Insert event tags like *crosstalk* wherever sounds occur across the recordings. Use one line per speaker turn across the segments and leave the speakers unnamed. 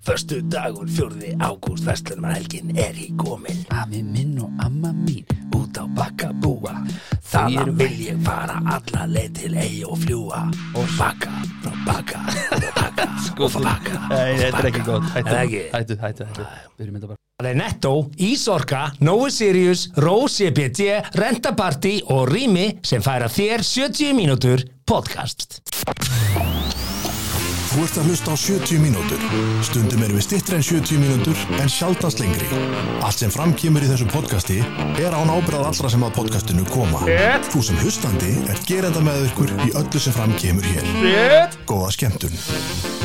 Förstu dagur, fjórði ágúst, vestlunumhelgin er í komin
Afi minn og amma mín
Út á bakka búa Þaðan vil ég fara alla leið til eigi og fljúa Og bakka, frá bakka, bakka,
*laughs* Sko,
frá
þú-
bakka
Nei, þetta er ekki gott
Er
Hættu,
það ekki?
hættu, hættu, hættu Við erum þetta bara
Það er Netto, Ísorka, Nói Sirius, Rose EBT, Rentaparty og Rými sem færa þér 70 mínútur podcast.
Þú ert að hlusta á 70 mínútur. Stundum erum við stittri en 70 mínútur en sjaldast lengri. Allt sem framkýmur í þessu podcasti er án ábyrðað allra sem að podcastinu koma. Shit. Þú sem hlustandi er gerenda með ykkur í öllu sem framkýmur hér. Shit. Góða skemmtun.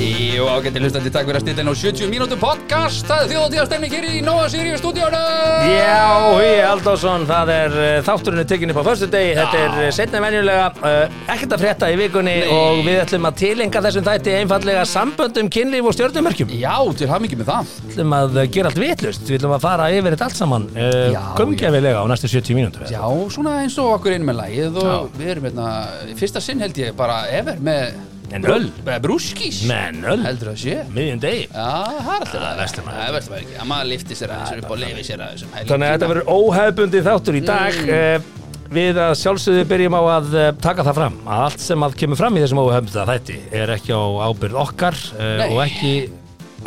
Jú, ágætti hlustandi, takk fyrir að stilla inn á 70 mínútu podcast Það er þjóðatíðastemning hér í Nóa Sirius stúdíónu
Já, Hugi Aldásson, það er eh, þátturinn er tekinn upp á förstu degi, þetta er setna venjulega, uh, ekkert að frétta í vikunni og við ætlum að tilenga þessum þætti einfallega samböndum, kynlíf og stjórnumörkjum.
Já, til hafði mikið með það
Við ætlum að eh, gera allt vitlust, við ætlum að fara yfir þetta allt saman, uh,
Já,
kumgjafilega á næstu 70 mínútur.
Já, svona eins og okkur einu með lagið og við erum hérna, í fyrsta sinn held ég bara ever með
En öl.
með brúskís
Menn, öll,
Heldur það sé
miðjum degi.
Já, það er alltaf það
er verslun.
Það er verslun bara ekki, að maður lifti sér aðeins upp og lifi sér aðeins um helgina.
Þannig að þetta verður óhefbundi þáttur í dag mm. Við að sjálfsögðu byrjum á að eh, taka það fram að allt sem að kemur fram í þessum óhefbundi þætti er ekki á ábyrð okkar eh,
Nei.
og ekki,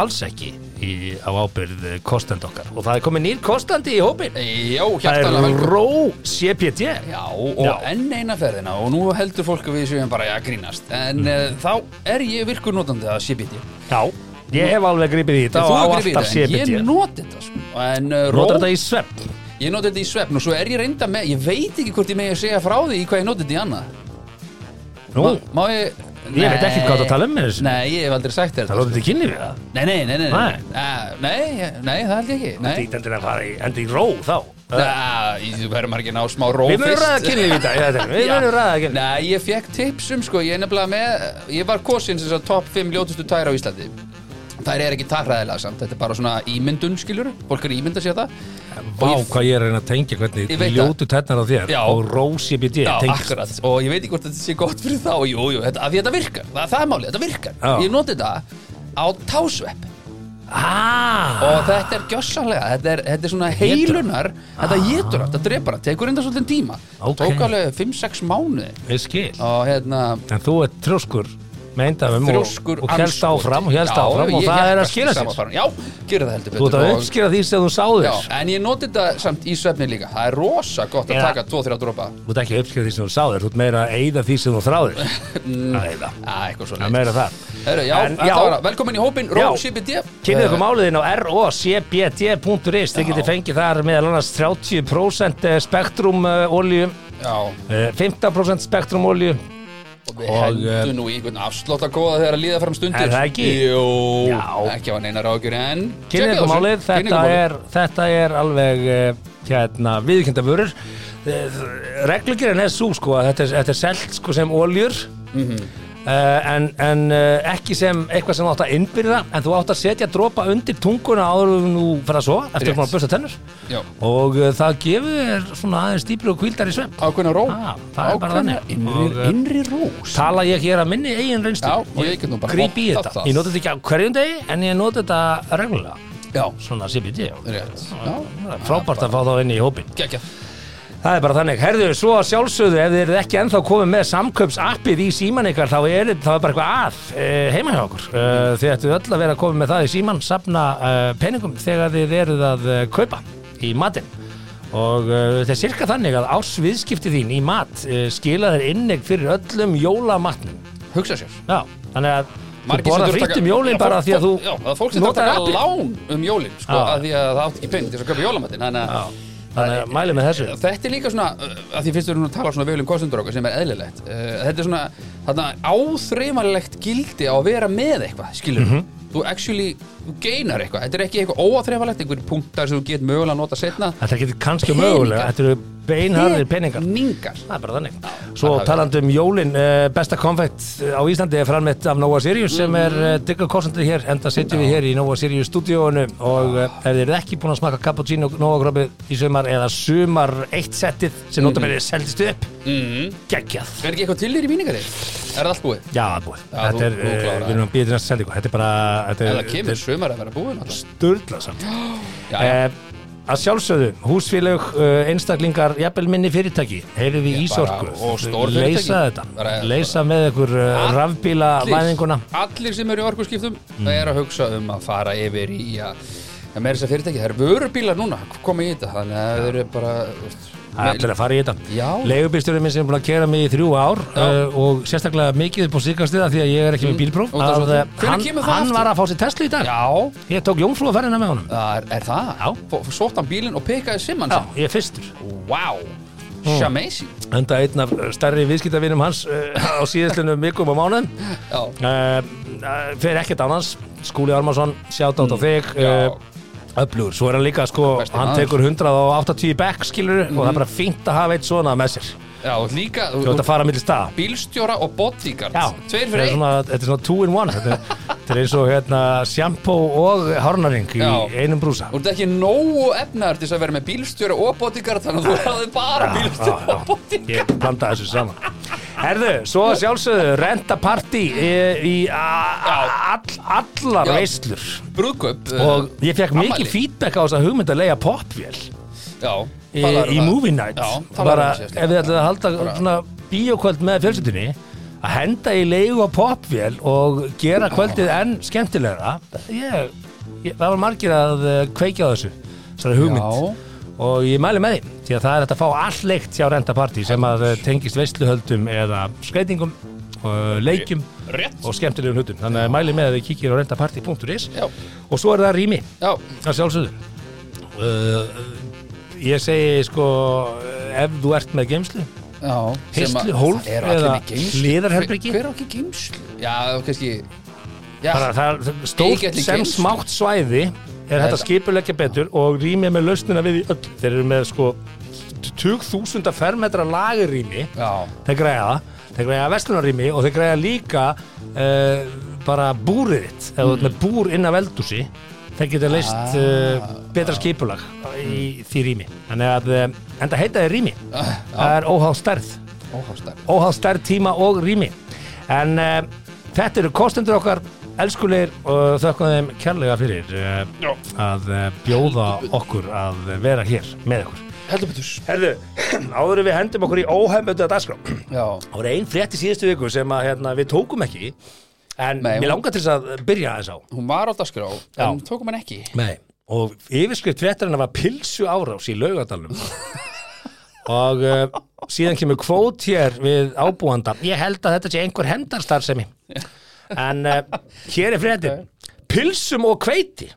alls ekki í, á ábyrð eh, kostandi okkar og það er komið nýr kostandi í hópin
Já,
Það
hjartalega
er
velkomin
Ró CPT
Já, og
Já.
enn eina ferðina og nú heldur fólk að við séum bara að grínast en mm. þá er ég virkur notandi að CBD
Já, ég hef alveg gripið í þetta og
Þú
á
hefur gripið
alltaf
þetta, en
CPT
Ég noti þetta sko. En uh, ró,
Notar þetta í svepp
ég noti þetta í svefn og svo er ég reynda með, ég veit ekki hvort ég megi að segja frá því í hvað ég noti þetta í annað
Nú,
Má ég
Ég veit ekki hvað þú ert að tala um með þessu.
Nei, ég hef aldrei sagt þér
það
þetta
notar þetta í kynlífi það
Nei, nei, nei, nei
Nei.
Ah, Nei, nei, það held ég ekki Nei,
Þetta er að fara í, enda í ró þá
Ah, í- þú verður maður ekki að ná smá ró
Við munum
fyrst.
ræða kynlíf í dag í þættinum. Við
Já.
munum ræða kynlíf.
Nei, ég fekk tipsum sko, ég er nefnilega með Ég var kosin sem sagt top 5 ljótustu tæra á Íslandi Þær er ekki tarraðilega samt Þetta er bara svona ímyndun skilur Fólk er að ímynda sér það
Vá,
Og ég-
hvað ég er að reyna að tengja
Ég
hvernig
veit
ljótu tætnar á þér
Já.
og rósi BD
Já,
tengst.
akkurat, og ég veit ekki hvort þetta sé gott fyrir þá Jú, jú, þetta, af því þetta virkar, það, það er málið, þetta virkar
Já.
Ég noti þetta á tásvepp
Ah,
og þetta er gjössalega, þetta er, þetta er svona heilunar Þetta
Ah.
getur allt, þetta drepar allt, tekur enda svolítið tíma
Ókei.
Tók alveg 5-6 mánuði
ég skil.
og hérna
En þú ert trjóskur með eindafum og,
þrjóskur
og helst áfram og helst áfram og
ég-
það
ég
er að
hjálpast
skila
saman
sér.
farin. Já, gera það heldur
Þú ert
betur
að
og-
uppskila því sem þú sáður.
Já, en ég noti þetta samt í svefni líka Það er rosa gott að
Já.
taka 2-3 dropa
Þú ert ekki að uppskila því sem þú sáður, þú ert meira að eyða því sem þú þráður.
Mm.
Að eyða.
Æ, eitthvað svo
Það er meira það.
Heru, já,
En-
en,
já.
já. Velkomin í hópin,
Já.
Ró, CBD
Kynnið ykkur máliðin á rocbd.is Þið
Eh. Já.
getið fengið þar meðal annars 30% spektrum eh, olju
Já,
15% spektrum olju
og við
Og, eh,
hendum nú í einhvern afslótt að góða þegar að líða fram stundir
Er það ekki?
Jú,
Já.
ekki á neina rákjur en
Kynnið
tjekkið á
ykkur
þessu.
málið,
Kynnið
þetta
ykkur málið.
er, þetta er alveg eh, hérna, viðkynda vörur. Reglugirinn er svo sko að þetta er, þetta er selt sko sem oljur
Mhm.
eh, en, en eh, ekki sem eitthvað sem þú átt að innbyrða en þú átt að setja dropa undir tunguna áður en þú fer að sofa eftir
Rétt.
að búin að bursta tennur
Já.
og eh, það gefur þér svona aðeins dýpri og kvíldar í svepp.
Ákveðna ró
Ah, það er bara
Ákveðna
þannig. Og,
innri,
eh,
innri rós
Tala ég hér að minni eigin reynslu
Já, og ég get nú bara
gríp í
vottað
þetta.
það.
Ég nota þetta ekki á hverjum degi en ég nota þetta reglulega
Já,
svona CBD já.
rétt Já,
frábært að fá þá inn í hópin
gekkja
það er bara þannig, herðu, svo að sjálfsögðu ef þið eruð ekki ennþá komið með samköpsappið í síman ykkar, þá er, þá er bara eitthvað að e, heima hjá okkur, e, þið ættu öll að vera að koma með það í síman, safna e, peningum þegar þið eruð að e, kaupa í matinn og e, þetta er cirka þannig að ársviðskipti þín í mat e, skila þér innegg fyrir öllum jólamatnum
Hugsa sér
já, þannig að þú
Margir sem
borða
þurfa að
frítt
taka-
um
Já,
jólin bara
fólk-
því að
Já, það er
þú
fólk sem þarf að taka
appið.
lán um jólin sko,
Já.
að því að það átt ekki pening til þess að köpa jólamatinn Þannig
Já,
að
þannig að mæli með þessu
þetta er líka svona uh, að því fyrst við erum að tala svona vel um kostendur okkar sem er eðlilegt uh, Þetta er svona þarna áþreifanlegt gildi á að vera með eitthvað skilur
Mhm.
Þú actually þú geinar eitthvað Þetta er ekki eitthvað óáþreifanlegt einhverjir punktar sem þú get mögulega að nota setna
Þetta getur kannski
Peningar.
mögulega, þetta eru beinharðir peningar.
Mingar
Það er bara þannig. Svo
það hafi-
talandi um jólin, uh, besta konfekt eh, á Íslandi er framleitt af Nova Sirius sem er
Mm.
uh, digga kostandi hér, enda setjum við hér í Nova Sirius stúdíónu og uh, ef þið eru ekki búin að smaka cappuccino Nova kroppið í sumar eða
Mm.
sumar eitt settið sem notabene seldist upp, geggjað.
Er ekki eitthvað til þér í míningarið? Er það allt búið?
Já, búið.
Já,
þetta
þú-
er,
þú
eh,
klárar.
við erum að býja til næsta sendingu. Þetta er bara, þetta
En
er,
það
þetta
kemur
er
sumar að vera búið náttúrulega.
sturla samt.
*gasps* Já, já.
Eh, að sjálfsögðu, húsfélög, eh, einstaklingar, jafnvel minni fyrirtæki, heyrið í
Ég
ísorku.
bara- og stór
Leysa
fyrirtæki.
þetta.
Bara-
Leysa með eh, ykkur
Allir.
rafbíla væðinguna.
Allir sem eru í orkuskiptum mm. er að hugsa um að fara yfir í að að meira þess að fyrirtæki, það eru vörubílar núna koma í þetta, þannig að það eru bara þú veist,
Það er allir að fara í þetta.
Já.
Leigubílstjórið minn sem er búin að kera mig í þrjú ár uh, og sérstaklega mikið upp á síkastiða því að ég er ekki með bílpróf.
Og það er svo-
Að, eh,
Mm. Hvenær
hann
kemur það
hann
aftur?
var að fá sér Tesla í dag.
já,
Ég tók jómfrúaferðina með honum.
það er, er það
Já.
F- sótt hann bílinn og pekaði simman
Já, Mm. ég er fyrstur.
wow, shamazing
Enda einn af eh, stærri viðskiptavinum hans uh, á síðastunum vikum og mánuðum.
já,
uh, uh, fyrir ekkert annars Skúli Armarsson, sjátt átt á þig
Mm. Já.
uh, öflugur, svo er hann líka sko,
Besti
hann
maður. Mhm.
tekur 180 back skilur og það er bara fínt að hafa eitt svona með sér,
já, og líka þú-
þú ert að fara millir staða
bílstjóra og bodyguard
Já,
tveir
Þetta
fyrir
er
einn
svona, þetta er svona two in one þetta er, þetta er eins og hérna sjampo og hárnaring í
Já.
einum brúsa
Þú ert ekki nógu efnaður til þess að vera með bílstjóra og bodyguard þannig
Ah.
að þú hafði bara
Já,
bílstjóra
já, já.
og bodyguard
Ég blanda þessu saman Herðu, svo að sjálfsögðu renta partí í, í a, all, allar
Já.
veislur
brúðkaup eh.
og Eh, ég fekk mikið
afmæli.
feedback á þessa hugmynd að leiða popvél
já,
í,
talaðu um
í
það.
movie night
já, talaðu um
bara
það
ef
síðast líka.
þið ætlaði að halda svona bíókvöld með fjölskyldinni að henda í leigu og popvél og gera kvöldið enn skemmtilegra ég, ég, það var margir að eh, kveikja á þessu þessari hugmynd og ég mæli með því því að það er hægt að fá allt leikt hjá Renta Party sem að eh, tengist veisluhöldum eða skreitingum og leikjum
rétt
og skemmtilegum hlutum þannig að ég mæli með að þið kíkir á rentaparty.is
Já.
og svo er það rými
já,
að sjálfsögðu uh, ég segi sko ef þú ert með geimslu
já sem að-
Histlu, hólf
það eru allir
eða
með geymslu.
hliðarherbergi?
hver hver á ekki geimslu já, þú kannski já,
bara það er stórt
Ekki allir
sem
geymslu.
smátt svæði er þetta
Þetta-
skipulegja betur og rými með lausnina við í öll þeir eru með sko 20.000 fermetra lagurrými
já,
þeir græja það, þeir græja vestlunarrými og þeir græja líka uh, bara búrið þitt, ef þú ert með búr inn af eldúsi þeir geta leist uh, betra skipulag í því rými þannig að, uh, en það heita þið rými það er óháð stærð
óhástar
óháð stærð tíma og rými en uh, þetta eru kostendur okkar elskulegir og þökkum þeim kærlega fyrir uh, að uh, bjóða okkur að vera hér með okkur
heldur betur
Herðu, *clears throat* áður en við hendum okkur í óhefmöndu að dagskrá
já,
Það voru ein frétt í síðustu viku sem að, hérna, við tókum ekki en
Nei,
mér
hún-
langar til þess að byrja þess á
hún var á dagskrá
Já.
en tókum hann ekki
Nei. og yfirskrift fréttarinn var pilsu árás í laugadalum
*laughs*
og uh, síðan kemur kvót hér við ábúanda ég held að þetta sé einhver hendarstarfsemi en uh, hér er
*laughs*
fréttin pilsum og kveiti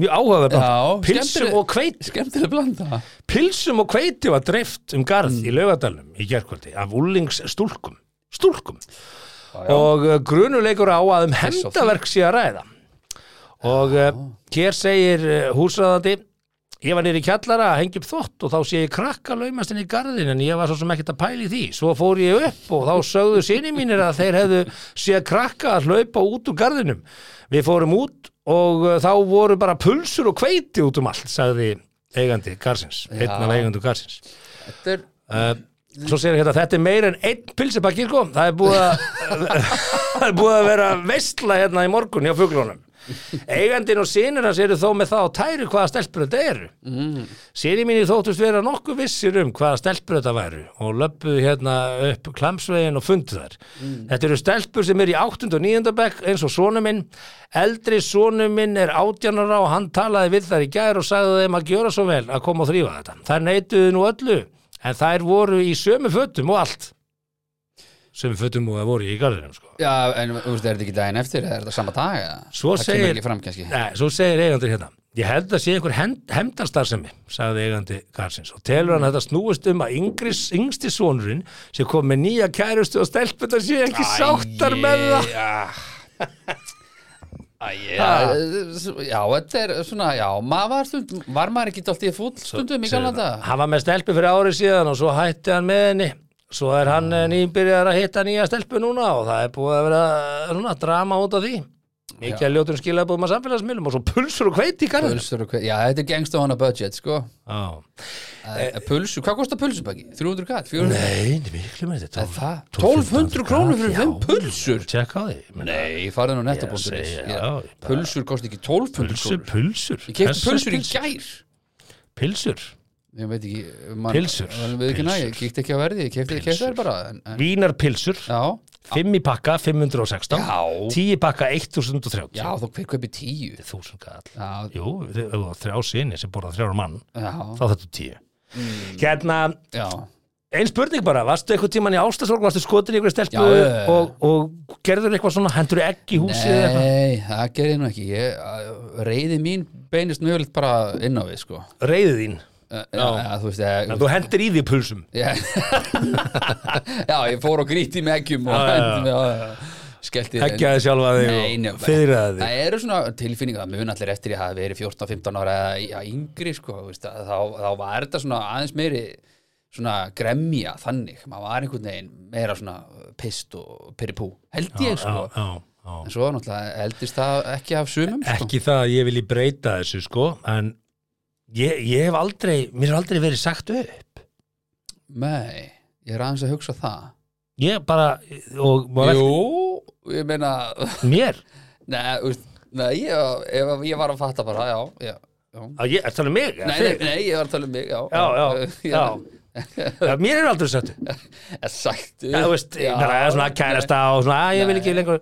mjög áhugaverð
Já,
pilsum
skemmtileg-
og kveiti
skemmtileg blanda
Pilsum og kveiti var dreift um garð
Mm.
í laugadalum í gerkvöldi af úlingsstúlkum stúlkum
já.
og uh, grunuleikur á að um
Þess á
hendaverk sé að ræða og uh, hér segir uh, húsræðandi ég var nýri kjallara að hengja upp þvott og þá sé ég krakka laumast inn í garðin en ég var svo sem ekkert að pæli því svo fór ég upp og þá sögðu sinni mínir að þeir hefðu séð krakka að hlaupa út úr garðinum við fórum út og uh, þá voru bara pulsur og kveiti út um allt sagði eigandi garðsins einn af eigandi garðsins
þetta er
uh, Svo segir hérna, þetta er meir en einn pilsipakki, sko. Það er búið að, *laughs* það er búið að vera veistla hérna í morgun hjá fuglunum. Eigandin og sinir hans eru þó með það á tæru hvaða stelpur þetta eru. Mm. Sinir mínir þóttust vera nokkuð vissir um hvaða stelpur þetta væru og löppuðu hérna upp klamsvegin og fundu þær. Þetta eru stelpur sem eru í 8. og 9. bekk eins og sonu minn. Eldri sonu minn er 18 ára og hann talaði við þær í gær og sagði þeim að gjöra svo vel að koma og þrýfa þetta. Þær neituðu nú öllu en þær voru í sömu fötum og allt sömu fötum og það voru í garðinum sko.
já, en þú veist, er þetta ekki daginn eftir eða er þetta sama dag eða?
Svo
það
segir-
kemur ekki fram kannski
Nei, svo segir eigandur hérna ég held að sé einhver hemdarstarfsemi sagði eigandi Garðsins og telur hann að þetta snúist um að yngri, yngsti sonurinn sem kom með nýja kærustu og stelpunar sé ekki sáttar með það
ah. Æ, já, já, þetta er svona, já, maður var stundum, var maður ekki dalt í fúll stundum í
Segir
galanda?
hann, hann var með stelpu fyrir árið síðan og svo hætti hann með henni svo er eh, hann nýbyrjar að hitta nýja stelpu núna og það er búið að vera núna, drama út af því Mikið að ljótur skilaðbúðum að samfélagsmiðlum og svo pulsur og hveiti í garðinu.
Pulsur og hver, já, þetta er gangstofana budget, sko
Já.
Eh, Pulsu, hvað kostar pulsupakki? 300 kall, 400
Nei, þetta er miklu með þetta.
Er það? 1200 krónur fyrir fimm pulsur?
Tjekka á því. ég meina,
Nei, farið nú
Ég
netta.is
segi,
Já,
já, bara-
Pulsur kosti ekki 1200
Pulsur,
krónur
pulsur.
Ég kefti
Þessar
pulsur í gær
Pilsur.
Ég veit ekki man,
Pylsur.
man, Við ekki næg,
Pylsur.
ég kíkti ekki á verði Ég kefti þær bara en, en,
Vínarpilsur.
Já,
5 í pakka, 516.
Já.
10 í pakka, 1030.
já, þú hver kaupi 10
1000 kall.
Já,
Jú, ef þú átt þrjá sinni sem borða þrjára mann,
já,
þá þetta er 10.
Mm.
Hérna,
já
Einn spurning bara, varstu eitthvað tíman í ástasorg, varstu skotin í einhverju stelpu
Já, já, já.
og, og gerður eitthvað svona, hendur ekki í húsið eða eitthvað?
Nei, það gerði ég nú ekki ég, Reyði mín beinist mjög bara inn á við, sko
Reyðið þín,
Já, já þú veist, ég,
en þú hendur í því pulsum.
Já, já ég *laughs* fór og gríti með eggjum og
Já, já, já.
hendum já, já. skellti
Heggjaði sjálfa þig
Nei, nei,
og fyrraði þig.
Það eru svona tilfinningar, það mun allir eftir ég hafi verið 14-15 ára eða ja, yngri sko, þú veist, að þá, þá var þetta svona aðeins meiri svona gremja þannig, maður var einhvern veginn meira svona pist og pyrripú, held ég sko
Já, já, já.
en svo náttúrulega eldist það ekki af sumum sko.
Ekki það að ég vilji breyta þessu, sko, en ég, ég hef aldrei, mér hef aldrei verið sagt upp.
Nei, ég er aðeins að hugsa það
Ég bara, og maður,
Jú, ég meina *laughs*
mér,
Nei, úst, nei ég, ég, ég var að fatta bara, já, já, já.
að ég, ertu alveg mig? eða
Nei, nei,
þig?
nei, ég var að tala um mig, já
Já,
*laughs*
já, já. Já, Mér hefur aldrei sagt upp.
já Sagt
Já, þú veist, já, bara, svona kærasta og svona, að ég vil ekki lengur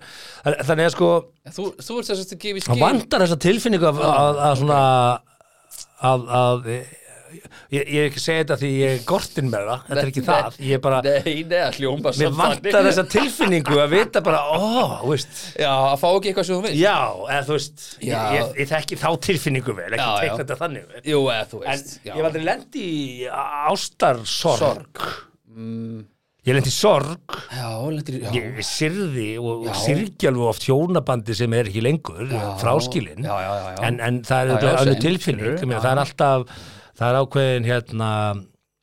þannig að sko,
nei. Þú, þú ert þess að gefa í
það
skil
vandar þessa tilfinningu að, að, að svona að, að ég, ég er ekki að segja þetta því ég er gortin með það þetta er ekki
Nei,
það, ég er bara
Nei, nei, að hljómba
mér vantar þessa tilfinningu að vita bara, ó, þú veist
Já, að fá ekki eitthvað sem þú vil
já, eða þú veist ég,
Já.
ég, ég þekki þá tilfinningu vel, ekki
Já, já.
teikna þetta þannig vel.
Jú, eða þú
en
veist já.
ég hef aldrei lendi í ástarsorg
Sorg.
ég lendi í sorg
Já, lendir, já
ég sirði og
Já.
sirgjálfu oft hjónabandi sem er ekki lengur fráskilin
Já, já, já, já.
En, en það er
Já, já,
alveg
sem,
tilfinning
skilurðu,
ég meina,
já.
það er alltaf, það er ákveðin hérna,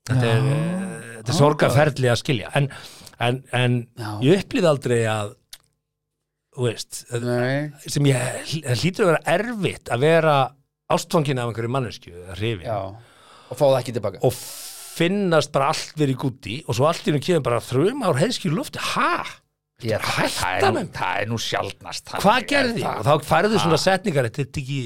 þetta er, eh, þetta er sorgaferli að skilja en, en, en
Já.
ég upplýði aldrei að þú veist
Nei,
sem ég það hlýtur að vera erfitt að vera ástfangin af einhverju mannesku eða hrifin
já Og fá það ekki tilbaka
og finnast bara allt verið í gúti og svo allt í hennu kemur bara þrjum ár heiðskjur lofti, ha?
Ég er
hætta með mig.
Það er nú sjaldnast þannig,
hvað
en
gerði ég?
það-
Og þá færðu svona setningar, þetta er ekki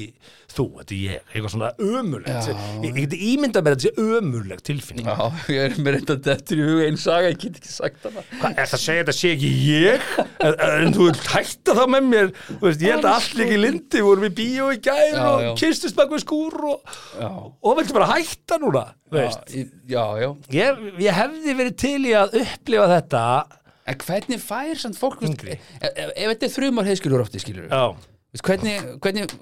þú, þetta er ég, eitthvað svona ömurlegt.
Já.
Ég, ég geti ímyndað mér að þetta sé ömurlegt tilfinning.
Já, ég er með reynda dettur í huga einn saga, ég get ekki sagt hana
Hvað, er það að segja þetta sé ekki ég? En, en þú vilt hætta þá með mér, þú veist, ég held að allt líki lindi, vorum við bíó í gær
Já, já.
og kistust bak við skúr og,
Já
og viltu bara hætta núna, veist.
Já, í- já, já.
Ég, ég hefði verið til í að upplifa þetta.
En hvernig fær samt fólk veist,
Yngri.
ef, ef, ef þetta er þrjumar heiðskilur ofti skilur
Já,
veist, hvernig, hvernig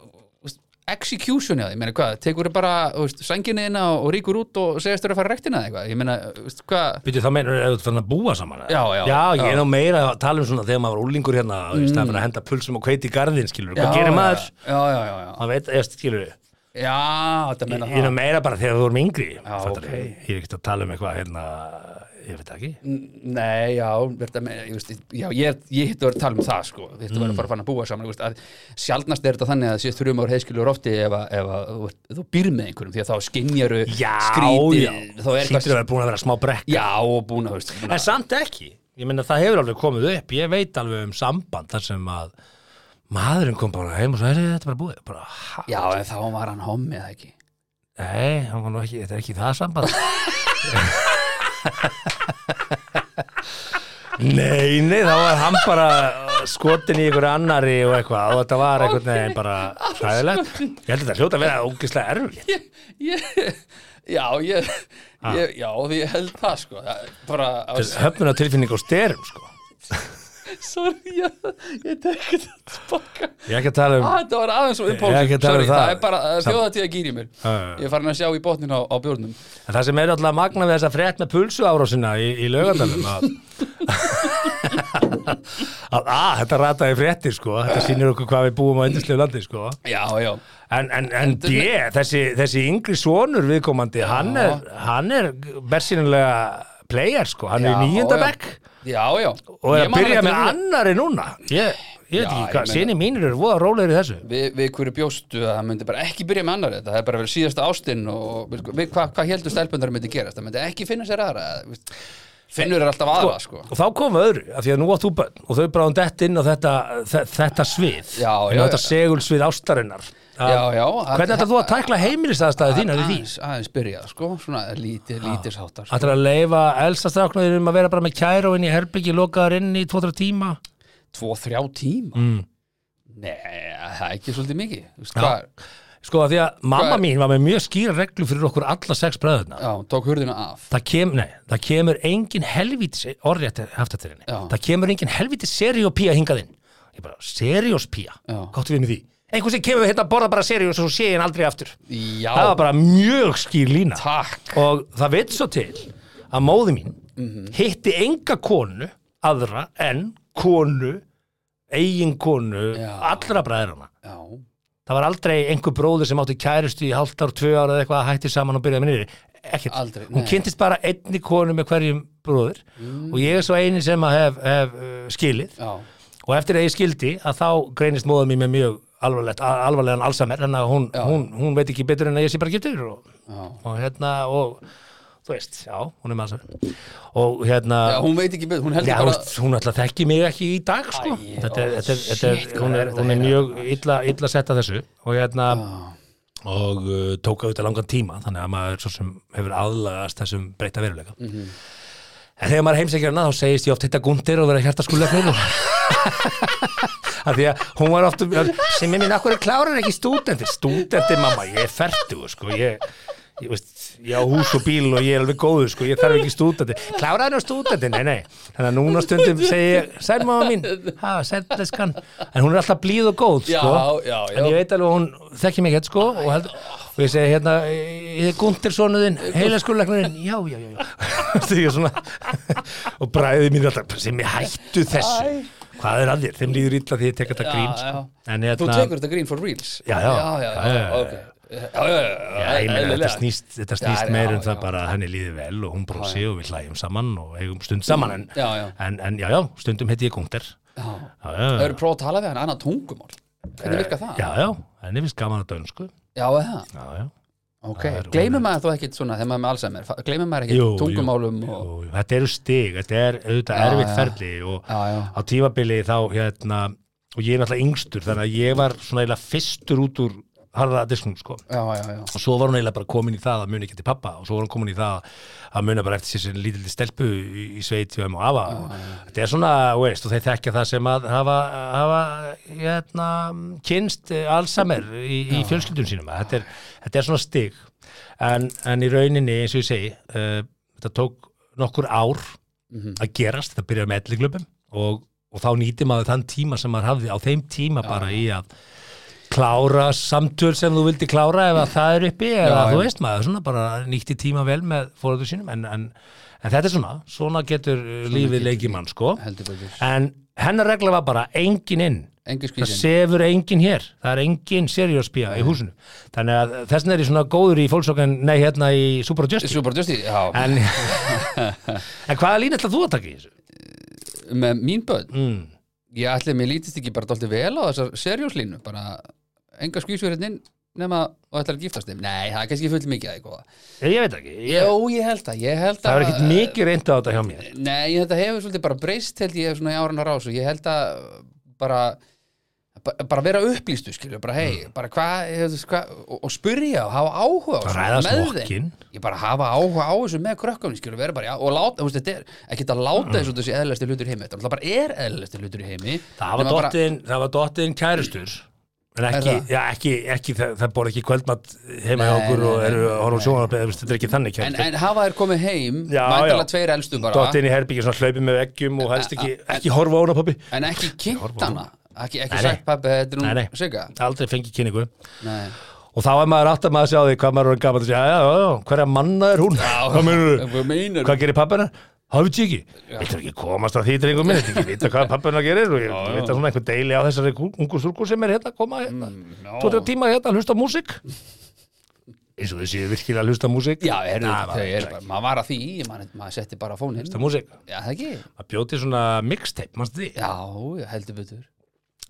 veist, execution eða, ég meina hvað tekur bara veist, sænginni inn og, og ríkur út og segist þér að fara rektina eða eitthvað ég meina, veist hvað
byrju þá meinar að þú fann að búa saman. eða?
Já, já,
já. ég
já.
er nú meira að tala um svona þegar maður var úlingur hérna, mm. veist, það er bara að henda pulsum og kveiti í garðin, skilur. Hvað
Já,
gerir maður?
Já, já, já, já,
maður veit, eða skilur við
já þetta meina
ég er nú
það
meira bara þegar þú erum yngri já,
ok.
ég er ekkert að tala um eitthvað hérna, ég veit það ekki
N- Nei, já, þetta meina, ég veist já, ég, er- ég hittu að vera að tala um það sko við hittu að vera að fara að fara að búa saman, ég veist að sjaldnast er þetta þannig að þessi þrjumar heiðskilur ofti ef, að- ef, að þú ert- þú býr með einhverjum því að þá skinjaru
já,
skrítið
já,
þá
hlýtur að
er eitthvað
vera búin að vera smá brekk
Já, og búin að, veist, búin
en samt ekki, ég meina það hefur alveg komið upp ég veit alveg um samband þar sem að maðurinn kom bara heim og svo er þetta bara búið bara, ha,
Já, en þá var hann hommi eða ekki
nei, hann var nú ekki, þetta er ekki það samband Nei, nei, þá var hann bara skotin í ykkur annari og eitthvað og þetta var einhvern veginn bara sæðilegt. Ég held að þetta hljóta að vera ógislega erfitt.
ég, ég, já, ég, ég, já, því ég held það sko, það er bara, á,
höfnuna tilfinning á styrum sko.
sorry, ég, ég tek þetta tilbaka.
ég er ekki að tala um
Ah, þetta var aðeins og
Ég er ekki
impulsum,
að tala um
sorry, það,
það.
er bara
Samt-
þjóðatíð að gýri mér.
já, já.
Ég er farin að sjá í botnin á, á bjórnum.
en það sem er alltaf magna við þessa frétt með pulsu árásina í, í laugardalum að, að að, þetta rataði fréttir sko þetta sýnir okkur hvað við búum á endislegu landi sko
Já, já,
en, en, en B, þessi, þessi yngri sonur viðkomandi, hann er, hann er bersýnilega player sko, hann er
Já,
í nýjunda
já.
bekk
já, já.
og er
Ég
að
man
byrja
eftir
með
þessu.
annari núna ég, ég veit
Já,
ekki
ég
hvað,
meina-
sinni mínir eru voða rólegir í þessu
við, við hverju bjóstu að það myndi bara ekki byrja með annar þetta, það er bara verið síðasta ástinn og við, við, hvað, hvað heldur stelpundar myndi gerast það myndi ekki finna sér aðra þú veist, finnur er alltaf aðra sko
og þá koma öðru, af því að nú átt þú bönn og þau bráðum dett inn á þetta, þe- þetta svið
Já,
en
já,
þetta
já.
segulsvið ástarinnar Að-
Já, já.
hvernig ætlar þú að tækla heimilistæðstæði þínar í því?
aðeins, aðeins byrja sko, svona lítið, lítið sáttar sko.
Ætlar að leifa elsta stráknuðinum að vera bara með kæru inn í herbyggi, lokaðar inn í 2-3 tíma
tvo, þrjá tíma mm. nei, það er ekki svolítið mikið Þú veist, hvað, er-
sko af því að mamma
Hvað er-
mín var með mjög skýra reglu fyrir okkur alla sex bræðurna
já, tók hurðina af
það, kem, nei, það kemur engin helvíti orðrétt eftir til henni
Já.
það kemur engin helvíti seriópía hingað inn ég bara, serióspía,
Já.
gáttu við með því einhvern sem kemur hérna að borða bara seriós og svo sé ég hann aldrei aftur
já,
það var bara mjög skýr lína
takk
og það veit svo til að móði mín
Mhm.
hitti enga konu aðra en konu eigin konu
Já.
allra bræðrana
já,
það var aldrei einhver bróður sem átti kærustu í hálft ár, tvö ára eða eitthvað að hætti saman og byrjaði með niður, ekkert
Aldrei,
hún
nei.
kynntist bara einni konu með hverjum bróður og ég er svo eini sem að hef, hef uh, skilið
já,
og eftir að ég skildi að þá greinist móðum mér með mjög alvarlegt, a- alvarlegan alzheimer þannig að hún, hún, hún veit ekki betur en að ég sé bara getur og,
já
og hérna og þú veist, já, hún er með alzheimer og hérna
Já, hún veit ekki betur, hún heldur
Já,
bara
veist, hún ætla að þekki mig ekki í dag sko.
Æi,
þetta, er-
ó,
þetta, er-
shit,
þetta, er-
hvað
hún
er
er,
þetta
hún er
eiginlega?
mjög illa, illa sett að þessu og, hérna, og uh, tók auðvitað langan tíma þannig að maður svo sem hefur aðlagast þessum breyta veruleika
Mm.
en þegar maður heimsækir hana þá segist ég oft hitta gundir og vera hjartaskulegnir og að því að hún var oft sem er minn, akkur er klárar ekki stúdendir stúdendir mamma, ég er ferdu sko, ég, ég veist, ég á hús og bíl og ég er alveg góður, sko, ég þarf ekki stúdendir klárar er stúdendir, nei, nei þannig að núna stundum segi ég, sæl mamma mín ha, sæl leskan, en hún er alltaf blíð og góð,
Já,
sko
já, já.
en ég veit alveg að hún þekki mig ekkert, sko og, held, og ég segi hérna, ég er gundir sonuðinn, heila
*laughs*
skurlegnurinn, já, já, já, já. *laughs* Því ég svona, *laughs* og bræðið mín er alltaf, sem ég hættu þessu hvað er að þér, þeim líður illa því ég tek þetta
Já,
grín sko.
já.
en
Þú
hérna
tekur þetta grín for reals
Já, já.
já,
Já,
já, já,
já, já.
ok. já, já, já, já,
Já, ég meina, þetta
eðlilega.
snýst, þetta snýst
Já,
meir
já,
en það
já.
bara að henni líði vel og hún brosi og við hlægjum saman og eigum stund saman en
Já, já.
en, en, já, já stundum heiti ég kungter já,
Já.
já,
Það
já,
eru prófað að tala við hann annað tungumál Hvernig virka það?
já, já henni finnst gaman að dönsku
Já, eða það
já, já.
Ok,
Það er-
gleymir maður þó ekkit svona þegar maður er með Alzheimer Fa- Gleymir maður
Jú,
ekkit
jú,
tungumálum
jú,
og...
jú. þetta eru stig, þetta er auðvitað
Já,
erfitt
já.
ferli og
Já, já,
á tímabili þá hérna og ég er náttúrulega yngstur þannig að ég var svona eiginlega fyrstur út úr harða disknum sko
já, já, já
og svo var hún eiginlega bara komin í það að muni ekki til pappa og svo var hún komin í það að muna bara eftir sér sem lítildi stelpu í, í sveit hjá þeim og afa og þetta er svona, þú veist, og þeir þekkja það sem að hafa, hafa hérna, kynst eh, Alzheimer í, í fjölskyldum sínum að þetta er, þetta er svona stig en, en í rauninni, eins og ég segi uh, þetta tók nokkur ár að gerast, þetta byrjar með elliglöpum og, og þá nýtir maður þann tíma sem maður hafði á þeim tíma bara í að klára samtöl sem þú vildi klára ef að það er uppi eða
Já,
þú
já.
veist maður svona bara nýtti tíma vel með fóröldur sínum en, en, en þetta er svona, svona getur svona lífið leikimann sko
Heldur betur
en hennar regla var bara engin inn
Engi
það
skvísin
sefur engin hér, það er engin serióspía í húsinu, þannig að þessin er ég svona góður í fólksókan, nei hérna í Super *laughs* Justice
Super Justy, já
en, *laughs* en hvaða línu ætla þú að taka í þessu?
Með mín börn
Mm.
Ég ætli að mér lítist ekki bara dálítið vel á þessar serjóslínu Bara enga skvísverðin nema og ætlar að giftast þeim Nei, það er kannski full mikið að eitthvað
Ég veit ekki, ég,
Jó, ég held að, ég held að
það var ekkit mikið reynda á þetta hjá mér
Nei, þetta hefur svolítið bara breyst held ég svona í áran á rásu, ég held að bara ba- bara vera upplýstu skilju, bara hei, bara hvað hva, og, og spyrja og hafa áhuga á
Mm. Bara
þessu,
ræða
með
smokkinn.
þeim. ég bara hafa áhuga á þessu með krökkunni skilju, vera bara, já, og láta, þú veist, þetta er ekkert að láta þessu þessi eðlæsti hlutur í heimi, þetta er bara er eðlæsti hlutur í heimi
Mm. Það var
nema bara-
dottin, það var dottin kærustur en ekki,
Er það?
já, ekki, ekki það, það bor ekki kvöldmatt heima hjá
Nei,
okkur og
nei,
eru að horfa sjónarbeð þetta er ekki þannig
en,
kærustur
en hafa þér komið heim,
Já, já.
mæntalega tveir elstu bara
dottin í herbyggi svona hlaupið með veggjum og helst ekki, ekki horfa á hana pappi
en ekki kynnt hana ekki,
Nei,
ekki
nei.
sagt pappi, þetta
Nei,
er
nei.
nú Mm, sigga
aldrei fengi kynningu
nei,
og þá er maður átt að maður sjá því hvað maður er gaman að segja, já, já, já, hverja manna er hún hvað meinur
*laughs* Hvað meinar
hvað gerir pappina? Hafið þið ekki? Veitur ekki komast að því drengum minn, veitur ekki vita hvað pappina gerir og ég veit að svona einhver deili á þessari kú- ungu stúlku sem er hérna að koma hérna,
Mm, já.
tvo-þrjá tíma hérna að hlusta á músík eins og þessi virkilega að hlusta á músík
Já, heyrðu,
Nei,
þau
maður-
eru bara, maður var að því, maður, maður setti bara fóninn.
hlusta á músík
Já, það ekki?
að bjóti svona mixtape, mannstu því?
Já, heldur betur.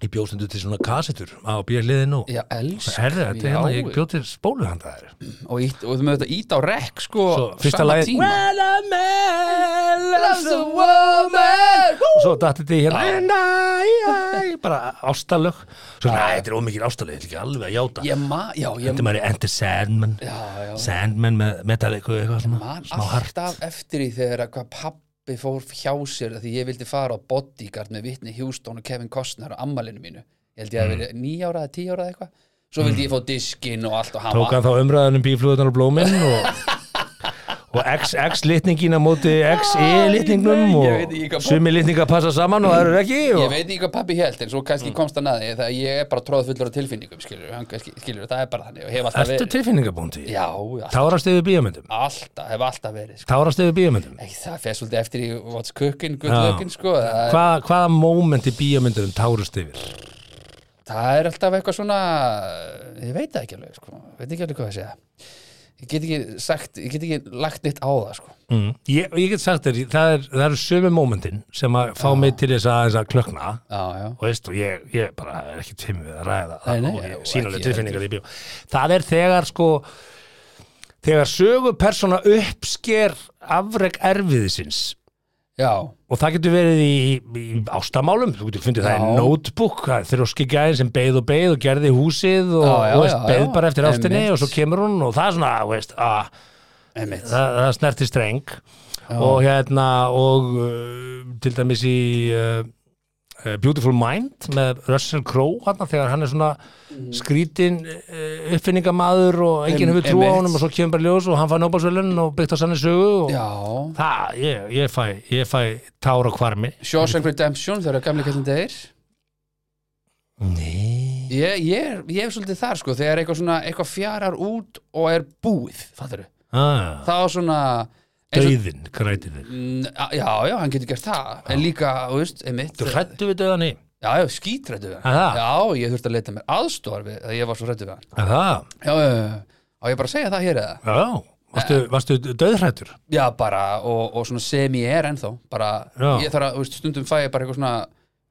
ég bjóst undir til svona kasetur á bíliðin og
Já, elsku
herðu, þetta er
já.
hérna, ég bjóð til spóluhandaðir
og, ít, og þú með þetta ít á rekk sko
Svo, fyrsta
sama
lagið-
tíma.
When a man loves a woman. og svo dætti þetta í hérna en I, I, bara ástalög svo, næ, þetta er ómikið ástalög, þetta er ekki alveg að játa
Ég ma, já, ég
þetta maður er Enter Sandman
Já, já.
Sandman með Metallica og eitthvað svona,
man
smá hart
alltaf eftir í þegar að hvað pappi fór hjá sér af því ég vildi fara á bodyguard með Whitney Houston og Kevin Costner á ammalinu mínu ég held ég
Mm.
að verið nýja ára eða tíu ára eða eitthvað svo vildi ég fá diskinn og allt og hann
tók hann þá umræðan um bíflugunar og blóminn og,
*laughs*
og XX litningin á móti XE litningnum
Ég veit ekki
og
hvað-
sumi litningar passa saman og það eru ekki
ég
og,
veit ekki hvað pappi held en svo
Mm.
kannski komst hann að því þegar ég er bara tróðfullur af tilfinningum skilur, hann, skilur það er bara þannig og hef alltaf
ertu
verið
tilfinningabúndi
já, já,
tárast yfir bíómyndum
alltaf, hef alltaf verið sko.
tárast yfir bíómyndum
Ei, það fer svolítið eftir í what's cooking, good
Já.
looking sko. það,
Hva, hvaða moment í bíómyndunum tárast yfir
það er alltaf eitthvað svona ég veit það ekki alveg sko. veit ekki alveg hvað það segja ég get ekki sagt, ég get ekki lagt neitt á það sko.
mm. ég, ég get sagt þér, það, er, það eru sömu momentin sem að fá mig til þess að, þess að klökna
já, já,
og veist, og ég, ég bara er ekki tveim við að ræða
Nei,
það
nei,
og
já,
ég
og
sínalega
ekki-
tilfinningar í bíó það er þegar sko þegar sögupersona uppsker afreg erfiðisins
já,
og það getur verið í, í ástamálum þú getur fundið það
Já.
í notebook það er þrjóski gæðin sem beið og beið og gerði húsið og
Já, já,
þú veist,
já,
beið
já.
bara eftir ástinni
Einmitt.
og svo kemur hún og það er svona, þú veist, ah, að
einmitt
það, það snerti streng og hérna og uh, til dæmis í uh, uh, Beautiful Mind með Russell Crowe hann, þegar hann er svona skrítin uh, uppfinningamaður og enginn
Em-
hefur trú á
einmitt.
honum og svo kemur bara í ljós og hann fær nóbalsvölun og byggt á sannir sögu og
já,
það, ég, ég, fæ, ég fæ tár á kvarmi
Shawshank Redemption þegar gamli kallin degir
Nei
ég, ég, er- ég er svolítið þar sko, þegar eitthvað, svona, eitthvað fjarar út og er búið fattur
ah,
þá svona eins og-
Dauðin, græti þig
Mm, a- Já, já, hann getur gert það En líka, þú veist, einmitt
Þú hrættu við dauðan í
Já, já, skítrættu við
Er það?
hann Já, ég þurfti að leita mér aðstóðar við að ég var svo rættu við hann
Er Það,
Já, já, já, já. á ég bara að segja það hér eða
já, varstu, varstu dauðhrættur
Já, bara, og, og svona sem ég er ennþá Bara,
Já.
ég þarf að, þú veist, stundum fæ ég bara eitthvað svona